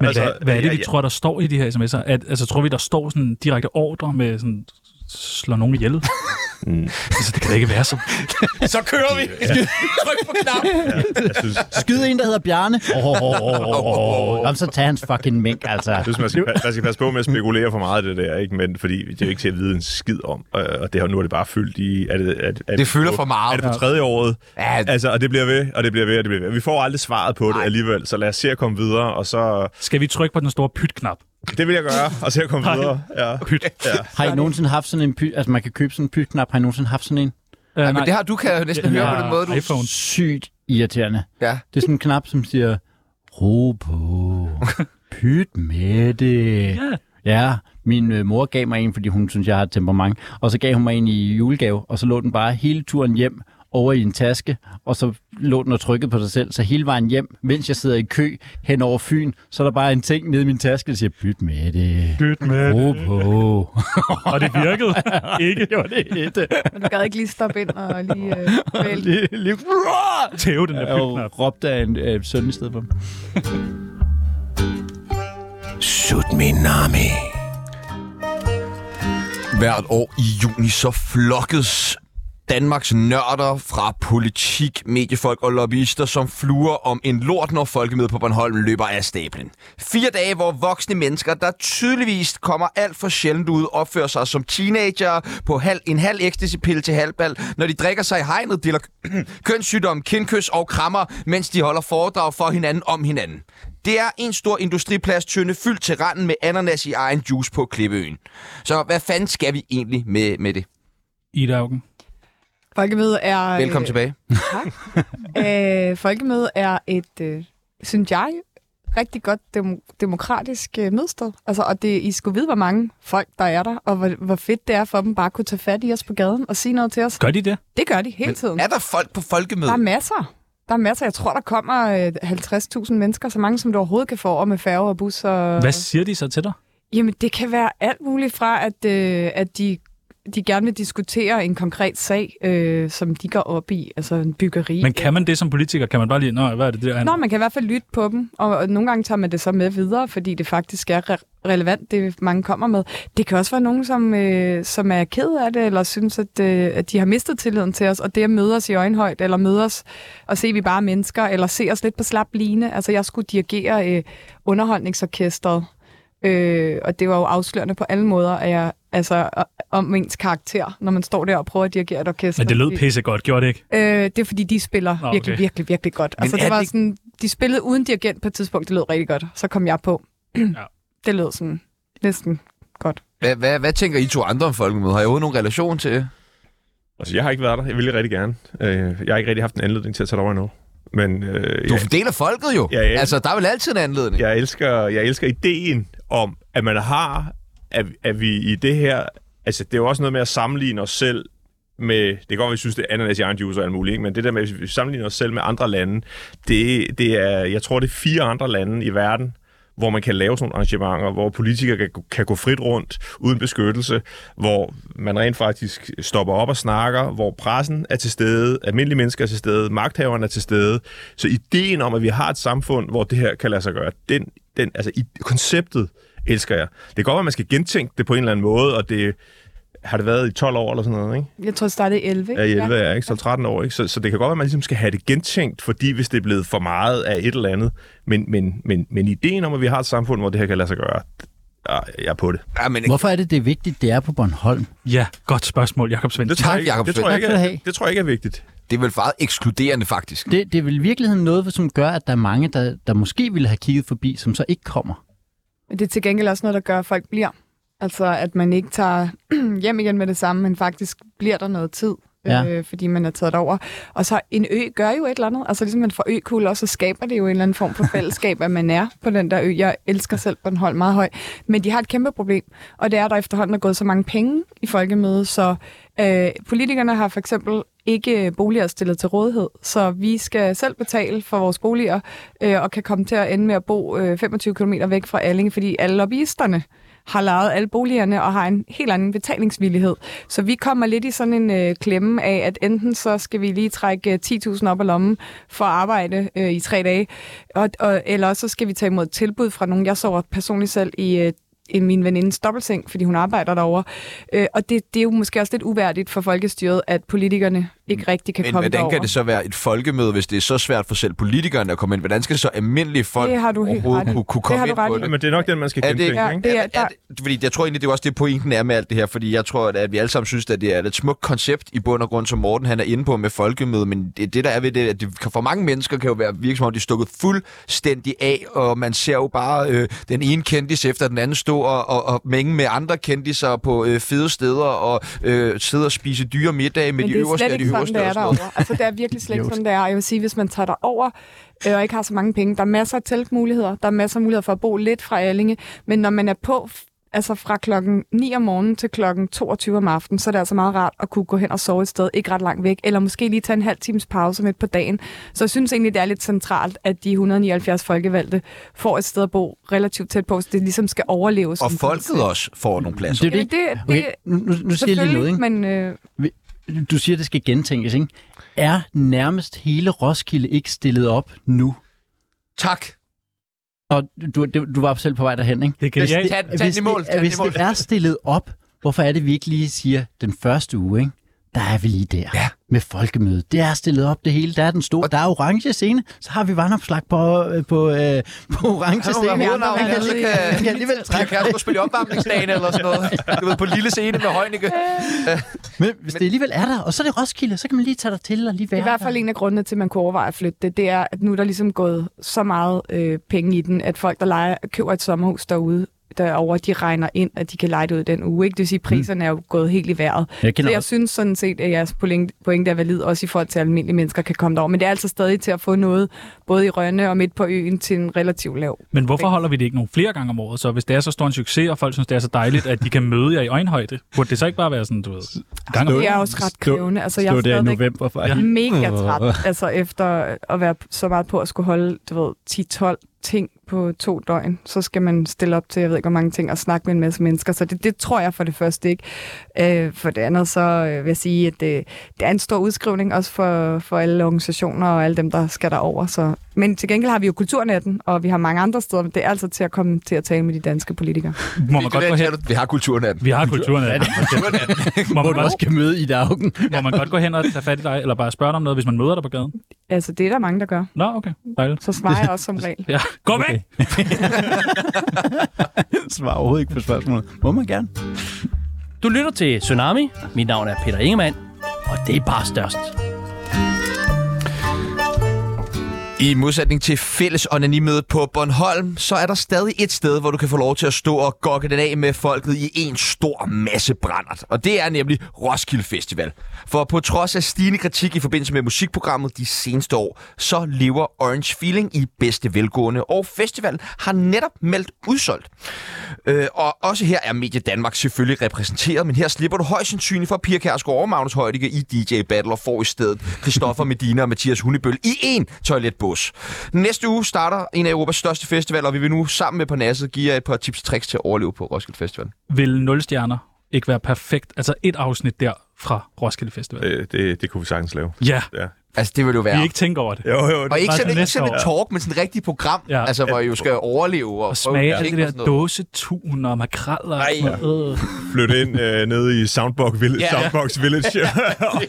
B: Men
C: Altså,
B: altså, hvad, hvad er det,
C: jeg-
B: vi
C: jeg-
B: tror, der står i de her sms'er? At, altså, tror vi, der står sådan direkte ordre med sådan, slå nogen ihjel? Mm. Altså, det kan da ikke være så.
A: Så kører vi! Tryk på knap!
C: Jeg synes, jeg
D: Skyd en, der hedder Bjarne. Oh, oh, oh, oh, oh. Jamen, så tag hans fucking mink, altså.
C: synes man, skal, pa- man skal passe på med at spekulere for meget af det der, ikke? Men, fordi det er jo ikke til at vide en skid om. Øh, Og det har, nu er det bare fyldt i... Er det, er, er
A: Det fylder for meget.
C: Er det på tredje året?
A: Ja.
C: Altså, og det bliver ved, og det bliver ved, og det bliver ved. Vi får aldrig svaret på det alligevel, så lad os se at komme videre, og så...
B: Skal vi trykke på den store pyt-knap? Øh,
C: Det vil jeg gøre, og se at komme
B: Nej.
C: videre. Ja.
B: Pyt. Ja,
D: Har I nogensinde haft sådan en py... Altså, man kan købe sådan en pytknap. Har I nogensinde haft sådan en?
B: uh,
A: Ja, men det har du kan jeg jo næsten høre på den måde, du...
B: Øh, iPhone.
D: Sygt irriterende.
A: Ja.
D: Det er sådan en knap, som siger, ro på, pyt med det.
B: Ja.
D: Ja, min øh, mor gav mig en, fordi hun synes, jeg har et temperament. Og så gav hun mig en i julegave, og så lå den bare hele turen hjem over i en taske, og så lå den og trykkede på sig selv. Så hele vejen hjem, mens jeg sidder i kø hen over Fyn, så er der bare en ting nede i min taske, der siger, pyt med det.
B: Pyt med.
D: Ro på.
B: Og det virkede ikke.
D: det var det et. øh,
E: Men du gad ikke lige stoppe ind og lige øh, vælge.
D: Lige, lige,
B: Tæve den der
D: jeg
B: pyt-knap.
D: råbte af en øh, søn i stedet for.
A: Sut min nami. Hvert år i juni så flokkes Danmarks nørder fra politik, mediefolk og lobbyister, som fluer om en lort, når folkemødet på Bornholm løber af stablen. Fire dage, hvor voksne mennesker, der tydeligvis kommer alt for sjældent ud, opfører sig som teenager på halv, en halv ecstasy-pille til halvbal, når de drikker sig i hegnet, deler kønssygdom, kindkys og krammer, mens de holder foredrag for hinanden om hinanden. Det er en stor industriplastønde fyldt til randen med ananas i egen juice på Klippeøen. Så hvad fanden skal vi egentlig med, med det?
B: Ida Augen.
E: Folkemødet er... øh,
A: Velkommen tilbage.
E: Øh, folkemødet er et, øh, synes jeg, rigtig godt dem- demokratisk øh, mødsted. Altså, og det, I skulle vide, hvor mange folk, der er der, og hvor, hvor fedt det er for dem bare at kunne tage fat i os på gaden og sige noget til os.
B: Gør de det?
E: Det gør de hele tiden.
A: Er der folk på folkemødet?
E: Der er masser. Der er masser. Jeg tror, der kommer øh, 50.000 mennesker, så mange som du overhovedet kan få over med færge og bus. Og...
B: Hvad siger de så til dig?
E: Jamen, det kan være alt muligt fra, at, øh, at de, de gerne vil diskutere en konkret sag, øh, som de går op i, altså en byggeri.
B: Men kan man det som politiker? Kan man bare lige, nå, hvad er det der?
E: Nå, man kan i hvert fald lytte på dem, og, og nogle gange tager man det så med videre, fordi det faktisk er re- relevant, det mange kommer med. Det kan også være nogen, som, øh, som er ked af det, eller synes, at, øh, at de har mistet tilliden til os, og det at møde os i øjenhøjde, eller møde os og se, at vi bare er mennesker, eller se os lidt på slap line. Altså, jeg skulle dirigere øh, underholdningsorkestret, øh, og det var jo afslørende på alle måder, at jeg, altså, o- om ens karakter, når man står der og prøver at dirigere et orkester.
B: Men det lød
E: Fordi-
B: pissegodt, gjorde det ikke?
E: Øh, det er fordi, de spiller
B: Nå,
E: Nå,
B: okay.
E: okay. virkelig, virkelig, virkelig godt. altså,
A: er
E: det var
A: det-
E: det... sådan, de spillede uden dirigent på et tidspunkt, det lød rigtig godt. Så kom jeg på. ja. Det lød sådan næsten godt.
A: Hvad, hvad, hvad tænker I to andre om folkemødet? Har I overhovedet nogen relation til det?
C: Altså, jeg har ikke været der. Jeg ville rigtig gerne. Øh, jeg har ikke rigtig haft en anledning til at tage derover endnu. Men øh,
A: Du
C: jeg,
A: er en del af folket jo.
C: Ja, ja.
A: Altså, der er vel altid en anledning.
C: jeg, elsker, jeg elsker ideen om, at man har, at, at vi i det her... Altså, det er jo også noget med at sammenligne os selv med, det kan godt være, vi synes, det er ananas i egen juice og alt muligt, ikke? men det der med, at vi sammenligner os selv med andre lande, det, det er, jeg tror, det er fire andre lande i verden, hvor man kan lave sådan nogle arrangementer, hvor politikere kan, kan gå frit rundt uden beskyttelse, hvor man rent faktisk stopper op og snakker, hvor pressen er til stede, almindelige mennesker er til stede, magthaverne er til stede. Så ideen om, at vi har et samfund, hvor det her kan lade sig gøre, den, den altså i, konceptet elsker jeg. Det kan godt være, at man skal gentænke det på en eller anden måde, og det har det været i 12 år eller sådan noget, ikke?
E: Jeg tror, jeg startede i 11.
C: Ja, i 11 er jeg, ikke? Så 13 år, ikke? Så, så det kan godt være, at man ligesom skal have det gentænkt, fordi hvis det er blevet for meget af et eller andet. Men, men, men, men ideen om, at vi har et samfund, hvor det her kan lade sig gøre, ah, jeg er på det.
A: Ja, men
D: Hvorfor er det, det er vigtigt, det er på Bornholm?
B: Ja, godt spørgsmål, Jakob Svendsen.
C: Det tror, jeg,
A: Tak,
C: ikke,
A: Jacob
C: det, tror jeg ikke,
D: Tak skal du have.
C: er, det tror jeg ikke er vigtigt.
A: det er vel meget ekskluderende, faktisk.
D: Det, det er vel i virkeligheden noget, som gør, at der er mange, der, der måske ville have kigget forbi, som så ikke kommer.
E: Men det er til gengæld også noget, der gør, at folk bliver. Altså, at man ikke tager hjem igen med det samme, men faktisk bliver der noget tid,
D: Ja.
E: ja. øh, fordi man er taget over. Og så en ø gør jo et eller andet. Altså, ligesom man får økugler, så skaber det jo en eller anden form for fællesskab, at man er på den der ø. Jeg elsker selv Bornholm meget højt. Men de har et kæmpe problem, og det er, at der efterhånden er gået så mange penge i folkemødet, så øh, politikerne har for eksempel ikke boliger stillet til rådighed, så vi skal selv betale for vores boliger, øh, og kan komme til at ende med at bo øh, 25 km væk fra Allinge, fordi alle lobbyisterne har lejet alle boligerne og har en helt anden betalingsvillighed. Så vi kommer lidt i sådan en øh, klemme af, at enten så skal vi lige trække øh, 10.000 op af lommen for at arbejde øh, i tre dage, og, og, eller også så skal vi tage imod et tilbud fra nogen. Jeg sover personligt selv i øh, i min venindes dobbeltseng, fordi hun arbejder derovre. Øh, og det, det er jo måske også lidt uværdigt for folkestyret, at politikerne ikke rigtig kan
A: Men
E: komme
A: hvordan
E: derover.
A: kan det så være et folkemøde, hvis det er så svært for selv politikerne at komme ind? Hvordan skal det så almindelige folk
E: Det har du helt
A: overhovedet
E: ret i.
A: kunne, kunne
E: Det
A: komme
E: har du
A: ind på
E: ret i.
A: det?
C: Men det er nok den, man skal
A: Er det-
C: gentænke,
E: ja,
C: ikke?
E: det er,
A: Er,
E: der,
A: det, fordi jeg tror egentlig, det er også det, pointen er med alt det her, fordi jeg tror, at vi alle sammen synes, at det er et smukt koncept i bund og grund, som Morten han er inde på med folkemøde, men det, det der er ved det, at det, kan- for mange mennesker kan jo være virke som om, de er stukket fuldstændig af, og man ser jo bare øh, den ene kendis efter den anden stå og, og, og mænge med andre kendiser på øh, fede steder og øh, sidde og spise dyre middage med
E: Men
A: de
E: det er
A: øverste
E: slet
A: af de
E: ikke sådan,
A: øverste.
E: det er
A: og sådan noget.
E: derovre. Altså, det er virkelig slet ikke sådan, det er. Jeg vil sige, hvis man tager derover øh, og ikke har så mange penge, der er masser af teltmuligheder, der er masser af muligheder for at bo lidt fra Allinge, men når man er på f- altså fra klokken 9 om morgenen til klokken 22 om aftenen, så er det altså meget rart at kunne gå hen og sove et sted, ikke ret langt væk, eller måske lige tage en halv times pause midt på dagen. Så jeg synes egentlig, det er lidt centralt, at de 179 folkevalgte får et sted at bo relativt tæt på, så det ligesom skal overleve.
A: Og
E: som
A: folket også får nogle pladser.
D: er jo
E: Jamen, det, det,
D: Okay, nu, nu nu siger jeg lige noget,
E: selvfølgelig,
D: ikke?
E: men øh,
D: Du siger, det skal gentænkes, ikke? Er nærmest hele Roskilde ikke stillet op nu?
A: Tak.
D: Og du, du du var selv på vej derhen, ikke?
B: Det er genialt.
A: Tag, tag
D: hvis,
A: den i mål. Tag
D: det,
A: den i
D: hvis
A: mål.
D: det er stillet op, hvorfor er det, vi ikke lige siger den første uge, ikke? Der er vi lige der
A: Ja.
D: med folkemødet. Det er stillet op det hele. Der er den store, der er orange scene. Så har vi vandopslag på, øh, på, øh, på orange
A: Kan du
D: scene.
A: være hovednavn,
D: Man
A: ja,
D: kan,
A: så
D: lige,
A: kan-
D: man kan alligevel
A: Kan
D: trække.
A: Kærsgaard spille i opvarmningsdagen eller sådan noget? Du ved, på lille scene med Heunicke.
D: Men hvis det alligevel er der, og så er det Roskilde, så kan man lige tage dig til og lige være
E: Det er i hvert fald en af grundene til, at man kunne overveje at flytte det, det er, at nu er der ligesom gået så meget øh, penge i den, at folk, der leger, køber et sommerhus derude, derovre, de regner ind, at de kan lege det ud den uge. Ikke? Det vil sige, at priserne er jo gået helt i vejret.
D: Jeg kender
E: Så jeg
D: også-
E: synes sådan set, at jeres pointe, pointe er valid, også i forhold til, at almindelige mennesker kan komme derover. Men det er altså stadig til at få noget, både i Rønne og midt på øen, til en relativt lav.
B: Men hvorfor holder vi det ikke nogle flere gange om året? Så hvis det er så stor en succes, og folk synes, det er så dejligt, at de kan møde jer i øjenhøjde, burde det så ikke bare være sådan, du ved, gang om
E: Det er også ret krævende. Altså, jeg er
D: Stå der i
E: stadigvæk
D: november for ja.
E: mega træt, altså efter at være så meget på at skulle holde, du ved, 10-12 ting på to døgn, så skal man stille op til, jeg ved ikke, hvor mange ting, og snakke med en masse mennesker, så det, det tror jeg for det første ikke. Øh, for det andet, så øh, vil jeg sige, at det, det er en stor udskrivning, også for, for alle organisationer og alle dem, der skal derover. Så. Men til gengæld har vi jo Kulturnetten, og vi har mange andre steder, men det er altså til at komme til at tale med de danske politikere.
B: må man godt gå hen?
A: Vi har kulturnatten.
B: Vi har kulturen af det. Må man,
D: Hvor
B: godt,
D: du skal møde Ida Augen.
B: må man godt gå hen og tage fat i dig, eller bare spørge dig om noget, hvis man møder dig på gaden?
E: Altså, det er der mange, der gør.
B: Nå, okay. Dejligt.
E: Så svarer jeg også som regel.
B: Ja. Gå væk! Okay.
D: Svar overhovedet ikke på spørgsmålet. Må man gerne.
H: Du lytter til Tsunami. Mit navn er Peter Ingemann, og det er bare størst.
A: I modsætning til fælles onanimødet på Bornholm, så er der stadig et sted, hvor du kan få lov til at stå og gokke den af med folket i en stor masse brændert. Og det er nemlig Roskilde Festival. For på trods af stigende kritik i forbindelse med musikprogrammet de seneste år, så lever Orange Feeling i bedste velgående, og festivalen har netop meldt udsolgt. Øh, og også her er Medie Danmark selvfølgelig repræsenteret, men her slipper du højst sandsynligt for Pia Kærsgaard og Magnus Højdike i DJ Battle og får i stedet Christoffer Medina og Mathias Hundebøl i én toiletbås. Næste uge starter en af Europas største festivaler, og vi vil nu sammen med Parnasset give jer et par tips og tricks til at overleve på Roskilde Festival.
B: Vil 0 stjerner ikke være perfekt? Altså et afsnit der fra Roskilde Festival.
C: Øh, det, det kunne vi sagtens lave.
B: Ja,
A: Altså, det vil jo
B: vi
A: være.
B: ikke tænker over det.
C: Jo, jo, det,
A: Og ikke
B: Bare
A: sådan,
B: til
A: ikke
B: næste
A: sådan et
B: år.
A: talk, men sådan et rigtigt program, ja.
B: Ja.
A: altså, hvor I jo skal overleve og,
B: Og
A: prøve ting og
B: smage alt det
A: sådan
B: der
A: noget.
B: dåsetun og makraller og
A: Ej,
B: sådan noget. Øh.
C: flytte ind øh, nede i Soundbox Village,
A: Ja.
C: ja. Soundbox Village og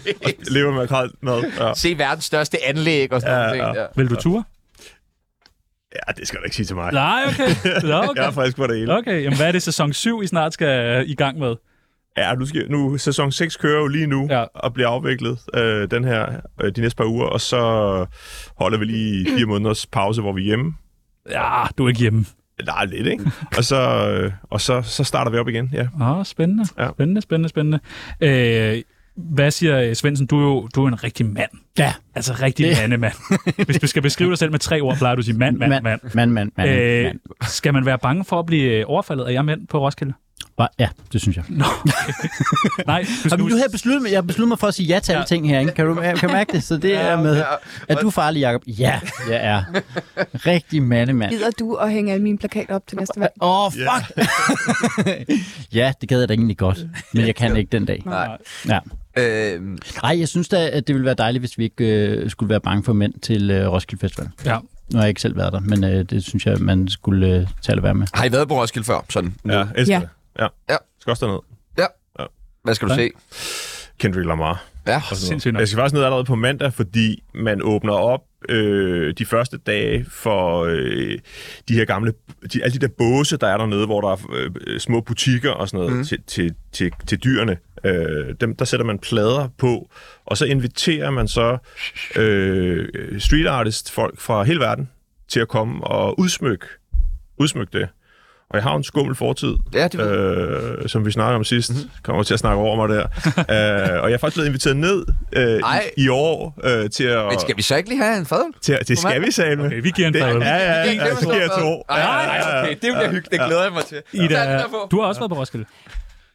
C: leve med kral mad. Ja.
A: Se verdens største anlæg og sådan
C: Ja,
A: noget.
C: ja.
A: Ja.
B: Vil du ture?
C: ja, det skal du ikke sige til mig.
B: Nej, okay. Nå,
C: Jeg er
B: okay.
C: frisk på det hele.
B: Okay, jamen hvad er det sæson 7, I snart skal øh, i gang med?
C: Ja, nu, skal, nu sæson 6 kører jo lige nu
B: Ja.
C: ja. og bliver afviklet øh, den her, øh, de næste par uger, og så holder vi lige fire måneders pause, hvor vi er hjemme.
B: Ja, du er ikke hjemme.
C: Nej, lidt, ikke? Og, så, øh, og så, så starter vi op igen, ja.
B: Åh, spændende.
C: Ja.
B: Spændende, spændende, spændende. Øh, hvad siger øh, Svendsen? Du er jo du er en rigtig mand.
D: Ja.
B: Altså rigtig
D: Det-
B: mandemand. Hvis du skal beskrive dig selv med tre ord, plejer du at sige mand, mand, mand. mand.
D: Mand, mand, mand.
B: Øh,
D: mand.
B: Skal man være bange for at blive øh, overfaldet af jer mænd på Roskilde?
D: Hva- Ja, det synes jeg.
B: Nej, du skal
D: Jamen, nu
B: huske,
D: har jeg besluttet mig, jeg har besluttet mig for at sige ja til alle ting her, ikke? Kan du, kan du mærke det? Så det er med. Er du farlig, Jacob? Ja, jeg er. Rigtig mandemand.
E: Gider du at hænge alle mine plakater op til næste valg?
D: Åh, oh, fuck! ja, det gad jeg da egentlig godt, men jeg kan ikke den dag.
A: Nej.
D: Ja.
A: Øhm,
D: Ej, jeg synes da, at det ville være dejligt, hvis vi ikke øh, skulle være bange for mænd til øh, Roskilde Festival.
B: ja.
D: Nu har jeg ikke selv været der, men øh, det synes jeg, man skulle øh, tage at være med.
A: har I været på Roskilde før? Sådan.
C: Ja, elsker
E: Ja.
C: det. Ja.
A: Ja.
C: Skal også derned.
A: Hvad skal du se?
C: Kendrick Lamar.
A: Ja.
C: og sådan noget.
B: Sindssygt nok.
C: Jeg skal faktisk ned allerede på mandag, fordi man åbner op øh, de første dage for øh, de her gamle, de, alle de der båse, der er dernede, hvor der er øh, øh, små butikker og sådan noget mm. til, til, til, til dyrene. Øh, dem, der sætter man plader på, og så inviterer man så øh, street artist folk fra hele verden til at komme og udsmykke, udsmykke det. Og jeg har jo en skummel fortid,
A: Ja, det ved jeg. Mhm.
C: øh, som vi snakker om sidst. Kommer til at snakke over mig der. øh, og jeg er faktisk blevet inviteret ned øh,
A: Ej.
C: i, i år øh, til at...
A: Men skal vi så ikke lige have en fadøl?
C: Til, til
A: På mandag?
C: skal vi salme.
B: Okay, vi giver en
C: det,
B: fadøl.
C: Ja, ja, ja. ja, Så giver jeg to.
A: Nej, nej, okay. Det bliver hyggeligt. Det glæder jeg mig til.
B: Ida, du har også været på Roskilde.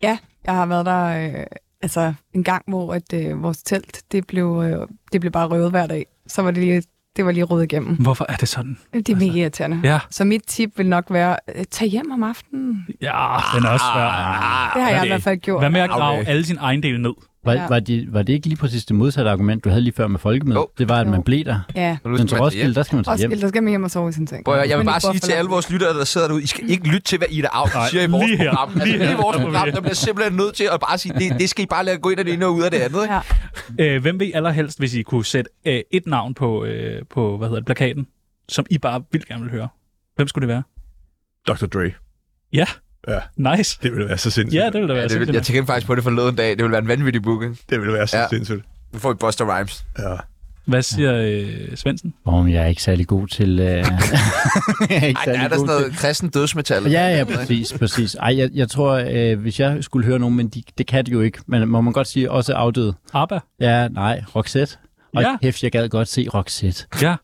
E: Ja, jeg har været der øh, altså en gang, hvor at, øh, vores telt, det blev, øh, det blev bare røvet hver dag. Så var det lige, det var lige rødt igennem.
B: Hvorfor er det sådan?
E: Det er mega irriterende.
B: Altså. Ja,
E: Så mit tip vil nok være, øh, tag hjem om aftenen.
B: ja den er også svær.
E: Det har jeg
B: okay.
E: i hvert fald gjort.
B: Hvad med at grave
A: Okay.
B: alle sine ejendele ned?
D: Var,
E: Ja.
D: ja. var, det, var det ikke lige præcis det modsatte argument, du havde lige før med folkemødet?
A: Jo.
D: Oh. Det var, at
E: Jo.
D: man blev der.
E: Ja,
D: Men til Roskilde, der skal man tage hjem.
E: Roskilde, der skal man hjem og sove i sin seng.
A: Prøv, at høre, jeg vil
E: Men
A: bare
E: det bor
A: sige
E: for
A: til
E: langt.
A: alle vores lyttere, der sidder derude, I skal ikke lytte til, hvad Ida Augen
B: Nej,
A: siger i vores
B: lige her.
A: program. Altså,
B: Lige
A: lige i
B: her.
A: vores
B: Der må vi
A: program,
B: her.
A: der bliver simpelthen nødt til at bare sige, det, det skal I bare lade gå ind af det ene og ud af det andet. Ikke?
E: Ja.
B: Øh, hvem vil I allerhelst, hvis I kunne sætte øh, et navn på, øh, på hvad hedder det, plakaten, som I bare vildt gerne vil høre? Hvem skulle det være?
C: Dr. Dre.
B: Ja.
C: Ja.
B: Nice.
C: Det ville være så sindssygt.
B: Ja, det ville da være
A: Ja, det vil, jeg tænkte faktisk på det forleden dag. Det ville være en vanvittig booking.
C: det ville være så
A: Ja.
C: sindssygt.
A: Nu får vi Buster Rhymes.
C: Ja.
B: Hvad siger øh, Svendsen?
D: Om jeg er ikke særlig god til... Øh... jeg er ikke
A: Ej, der er der sådan noget kristen dødsmetal.
D: Ja, ja, præcis, præcis. Ej, jeg, jeg tror, øh, hvis jeg skulle høre nogen, men de, det kan de jo ikke, men må man godt sige, også afdøde.
B: ABBA?
D: Ja, nej, Roxette. Og
B: Ja.
D: ja. kæft, jeg gad godt se Roxette.
B: Ja.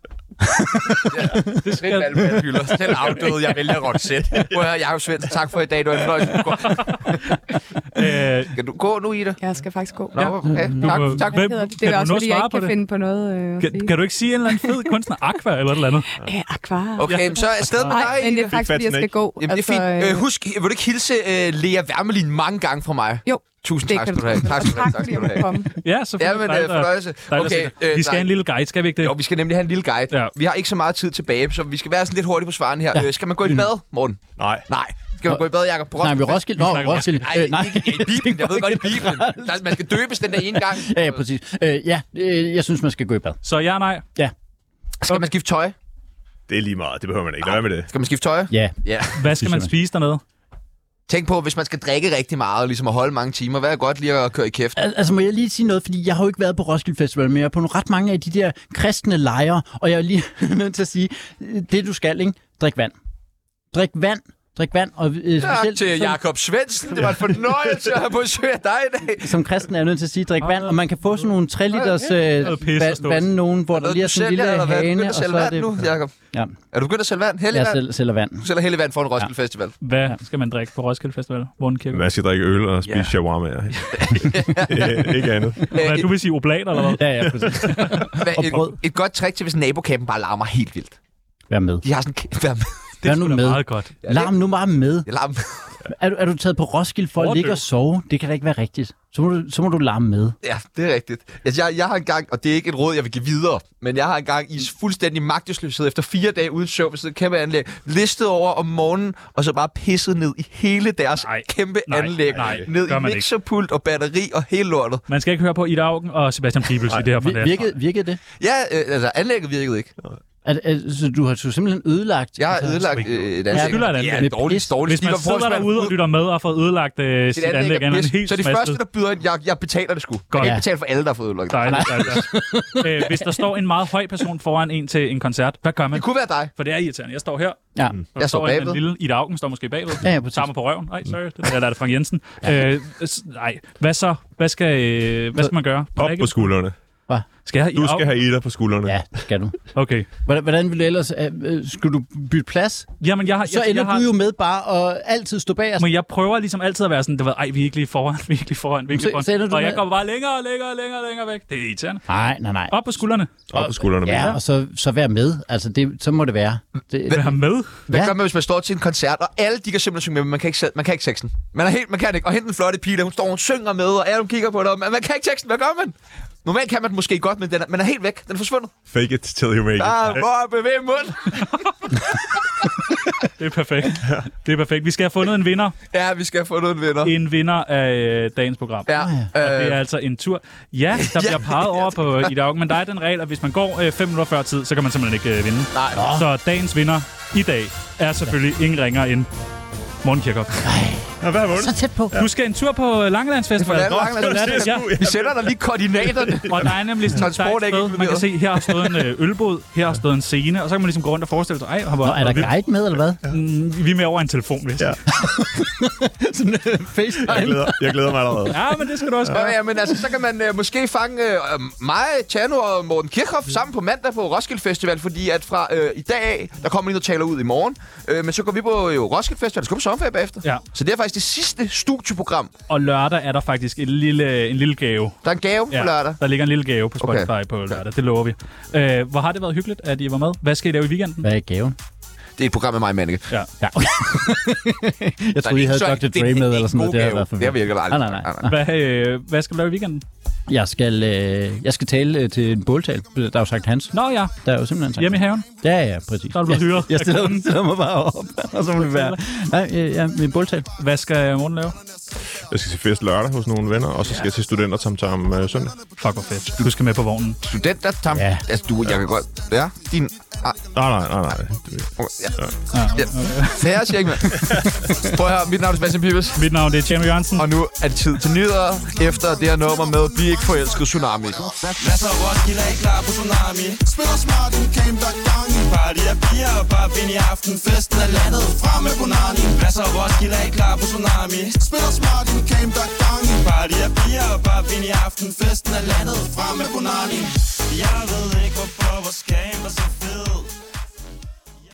A: Det skal alle mine hylder. Selv afdøde, jeg vælger Roxette. Prøv at høre, Jacob Svendsen, tak for i dag. Du er en fornøjelse. Du går-
B: Øh,
A: Kan du gå nu, Ida?
E: Jeg skal faktisk gå.
A: Nå, okay. Tak,
B: må-
A: tak.
E: Hvad
B: Hvem-
E: hedder det?
B: kan
E: Det er
B: du
E: også,
B: nå at
E: fordi jeg
B: svare
E: ikke
B: på
E: kan
B: det?
E: finde på noget øh, at
B: kan,
E: sige.
B: kan du ikke sige en eller anden fed kunstner? Aqua eller et eller andet?
E: Ja, akvar.
A: Okay, men så er stedet med
E: Nej,
A: dig,
E: men Altså, det
A: Ida.
E: er faktisk, fordi jeg skal
C: Snake.
E: gå.
A: Jamen, det er fint. Øh, husk, vil du ikke hilse øh, Lea Wermelin mange gange fra mig?
E: Jo,
A: Tusind
E: det
A: tak
E: kan
A: skal du have. Tak skal du have. Tak
E: fordi
A: skal
E: jeg
A: du
E: måtte
A: have.
E: komme.
B: Ja,
A: Ja,
B: selvfølgelig.
A: men
B: Dig,
A: øh,
B: der-
A: fornøjelse.
B: dig, der
A: Okay, øh,
B: sender. vi skal have en lille guide, skal vi ikke det?
A: Jo, vi skal nemlig have en lille guide.
B: Ja.
A: Vi har ikke så meget tid tilbage, så vi skal være sådan lidt hurtige på svaren her. Øh, skal man gå i bad, Morten?
C: Nej.
A: Nej. Skal man gå i bad, Jacob? På
D: Nej, vi
A: Roskilde Fest?
D: Roskilde. Nå,
B: snakker om-
D: Roskilde.
A: Nej,
D: Øh,
A: nej. ikke i Bibelen. Jeg ved godt, i Bibelen. Der, man skal døbes den der ene gang.
D: Ja, ja, præcis. Øh, ja, øh, jeg synes, man skal gå i bad.
B: Så ja, nej.
A: Skal man skifte tøj?
C: Det er lige meget. Det behøver man ikke. Lad være med det.
A: Skal man skifte tøj?
D: Ja,
A: Ja.
B: Hvad skal
D: Synes
B: man
D: jeg.
B: spise dernede?
A: Tænk på, hvis man skal drikke rigtig meget, og ligesom at holde mange timer, hvad er godt lige at køre i kæft?
D: Al- Altså må jeg lige sige noget, fordi jeg har jo ikke været på Roskilde Festival, men jeg er på nogle ret mange af de der kristne lejre, og jeg er lige nødt til at sige, øh, det du skal, ikke? Drik vand. Drik vand. Drik vand. Og, øh,
A: Tak
D: specielt,
A: til
D: som,
A: Jakob Svendsen. Det var en fornøjelse at have besøg af dig i dag.
D: som kristen er jeg nødt til at sige, drik vand, og man kan få sådan nogle 3 liters øh,
B: Noget pis at
D: va-
B: stå.
D: vand nogen, hvor der
A: Noget,
D: lige er
A: du
D: sådan en
A: sælger,
D: lille
A: eller hvad? Er du
D: hane,
A: begyndt
D: og
A: at
D: så
A: sælge
D: er
A: vand
D: det...
A: nu, Jacob?
D: Ja,
A: Er du begyndt at sælge vand? Hellig
D: jeg
A: vand?
D: selv, sælger vand.
A: Du sælger hellig vand for en Roskilde Festival.
B: Hvad skal man drikke på Roskilde Festival? Morten Kirke?
C: Man skal drikke øl og spise
A: Ja.
C: yeah. shawarma. Øh, ikke andet.
B: Hvad, du vil sige oblat eller hvad?
D: Ja, ja, præcis.
A: Hvad,
D: Og brød.
A: et, et godt trick til, hvis nabokampen bare larmer helt vildt.
D: Vær med.
A: De har sådan en kæ-
D: Vær nu
B: sgu da
D: med.
B: meget godt.
D: Larm nu bare med.
A: larm.
D: Er du, er du taget på Roskilde for at
B: Overdøv.
D: ligge og sove? Det kan da ikke være rigtigt. Så må du, så må du larme med.
A: Ja, det er rigtigt. Altså, jeg, jeg har engang, og det er ikke et råd, jeg vil give videre, men jeg har engang i fuldstændig magtesløshed efter fire dage uden søvn ved sådan et kæmpe anlæg, listet over om morgenen, og så bare pisset ned i hele deres
B: Nej,
A: kæmpe
B: nej,
A: anlæg.
B: nej,
A: ned
B: gør
A: i
B: man ikke.
A: mixerpult og batteri og hele lortet.
B: Man skal ikke høre på Ida Augen og Sebastian Pibels i det her
D: Vir-
B: fornæst.
D: Virkede, virkede det?
A: Ja, øh, altså anlægget virkede ikke.
D: At, at, så du har du simpelthen ødelagt...
A: Jeg har
D: altså,
A: ødelagt øh, et
B: Jeg
A: anlæg.
B: skylder et anlæg.
A: Ja,
D: Med
A: dårligt,
D: pis.
A: dårligt.
B: Hvis man
A: Skipper
B: sidder
A: Forsman
B: derude og
A: ud-
B: lytter med og har fået ødelagt øh,
A: sit
B: sit
A: anlæg
B: anlæg,
A: er
B: er man
A: pis.
B: helt
A: Så de
B: smastet.
A: første, der byder ind, jeg, jeg betaler det sgu. Jeg kan
B: Godt.
A: ikke betale for alle, der har fået udlukket.
B: Dejligt, dejligt. Øh, Hvis der står en meget høj person foran en til en koncert, hvad gør man?
A: Det kunne være dig.
B: For det er irriterende. Jeg står her,
D: Ja,
B: og
A: Jeg står
B: der står en,
A: bagved.
B: en lille Ida Augen står måske bagved.
D: ja, ja, præcis.
B: Tager mig på røven. Nej, sorry. Det der, der er det Frank Jensen. Øh, s- nej, hvad så? Hvad skal, øh, hvad skal man gøre?
C: Op på skuldrene.
B: Skal jeg have
C: Du
B: Ida
C: skal
B: Augen?
C: have Ida på skuldrene.
D: Ja, det skal du.
B: Okay.
D: Hvordan, hvordan ville du ellers... øh, Øh, skulle du bytte plads?
B: Jamen, jeg har...
D: Så
B: jeg,
D: ender
B: jeg har,
D: du jo med bare at altid stå bag os.
B: Men jeg prøver ligesom altid at være sådan, det var, ej, vi er ikke lige foran, vi er ikke lige foran, vi er ikke lige
D: Så- så ender
B: foran.
D: du
B: Og jeg
D: med-
B: kommer bare længere og længere og længere og længere væk. Det er irriterende.
D: Nej, nej, nej.
B: Op på skuldrene.
C: Op på skuldrene. mand.
D: Ja, og så, så vær med. Altså, det, så må det være. Det,
B: Vær med.
A: Hvad
D: Ja.
A: gør man, hvis man står til en koncert, og alle de kan simpelthen synge med, men man kan ikke, selv- man kan ikke teksten? Man, er helt, man kan ikke. Og hente den flotte pige, der hun står, hun synger med, og alle kigger på dig, men man kan ikke teksten. Hvad gør man? Normalt kan man den måske godt, men den er, man er helt væk. Den er forsvundet.
C: Fake it till you make it.
A: Ah, hvor bevæg munden.
B: Det er perfekt. Det er perfekt. Vi skal have fundet en vinder.
A: Ja, vi skal have fundet en vinder.
B: En vinder af øh, dagens program.
A: Ja, øh,
B: Det er altså en tur. Ja, der bliver peget over på øh, Ida Augen, men der er den regel, at hvis man går øh, 5 minutter før tid, så kan man simpelthen ikke øh, vinde.
A: nej.
B: Så dagens vinder i dag er selvfølgelig ingen ringer end Morten Kirchhoff.
C: Og hvad har vundet?
D: så tæt på.
B: Du skal en tur på øh, Langelandsfestival.
A: Det er på Langeland.
B: Langeland, ja.
A: Vi sender dig lige koordinaterne.
B: Og der er nemlig sådan, der er
A: Transport er
B: et
A: ikke
B: sted, man kan se, her har stået en øh, ølbåd, her har stået en scene, og så kan man ligesom gå rundt og forestille sig, ej, hvor,
D: Nå, er der
B: vi,
D: guide med, eller hvad?
B: mm, vi er med over en telefon, hvis. Ja.
C: Ja.
D: øh,
C: Jeg glæder, jeg glæder mig allerede.
B: ja, men det skal du også
A: Ja,
B: gøre.
A: ja, men altså, så kan man øh, måske fange øh, mig, Tjano og Morten Kirchhoff sammen på mandag på Roskilde Festival, fordi at fra øh, i dag af, der kommer lige noget taler ud i morgen, øh, men så går vi på øh, Roskilde Festival, så skal vi på sommerferie bagefter.
B: Ja.
A: Så det er faktisk det sidste studieprogram.
B: Og lørdag er der faktisk en lille, en lille gave.
A: Der er en gave ja. på lørdag.
B: der ligger en lille gave på
A: Okay.
B: Spotify okay. på lørdag. Det lover vi. Øh, hvor har det været hyggeligt, at I var med? Hvad skal I lave i weekenden?
D: Hvad er gaven?
A: Det er et program med mig, Manneke.
B: Ja.
D: Ja, okay. jeg troede, I havde Dr. Dre med, eller sådan noget. Det, havde været for
A: Det har vi ikke
D: vildt.
A: aldrig.
D: Nej, nej, nej.
B: Hvad, øh, hvad skal du lave i weekenden?
D: Jeg skal, øh, jeg skal tale øh, til en båltal. Der er jo sagt Hans.
B: Nå ja,
D: Der er jo simpelthen sagt
B: hjemme i haven.
D: Ja, ja, præcis.
B: Der er du blevet hyret.
D: Jeg stiller, stiller mig bare op, og så må det være... Nej, ja, ja, min båltal.
B: Hvad skal Morten lave?
C: Jeg skal til fest lørdag hos nogle venner, og så skal jeg til studenter samtam øh, søndag.
B: Fuck, hvor fedt. Du skal med på vognen.
A: Studenter, Tam. Ja.
D: Ja.
A: Altså, du, jeg kan godt... Ja, din...
C: Nej, nej, nej, nej. Det-
A: Ah, Færre siger ikke, mand. Prøv at høre, mit navn er Sebastian Pibes,
B: Mit navn det er Tjerno Jørgensen.
A: og nu er det tid til nyheder efter det her nummer med Bliv ikke forelsket Tsunami.
I: Masser af Roskilde er I klar på Tsunami Spiller smart, en camp, der er gang i Party af piger og bare vind i aften Festen er landet, frem med Bonani Masser af Roskilde er I klar på Tsunami Spiller smart, en camp, der er gang i Party af piger og bare vind i aften Festen er landet, frem med Bonani Jeg ved ikke hvorfor, hvor skagen var så fed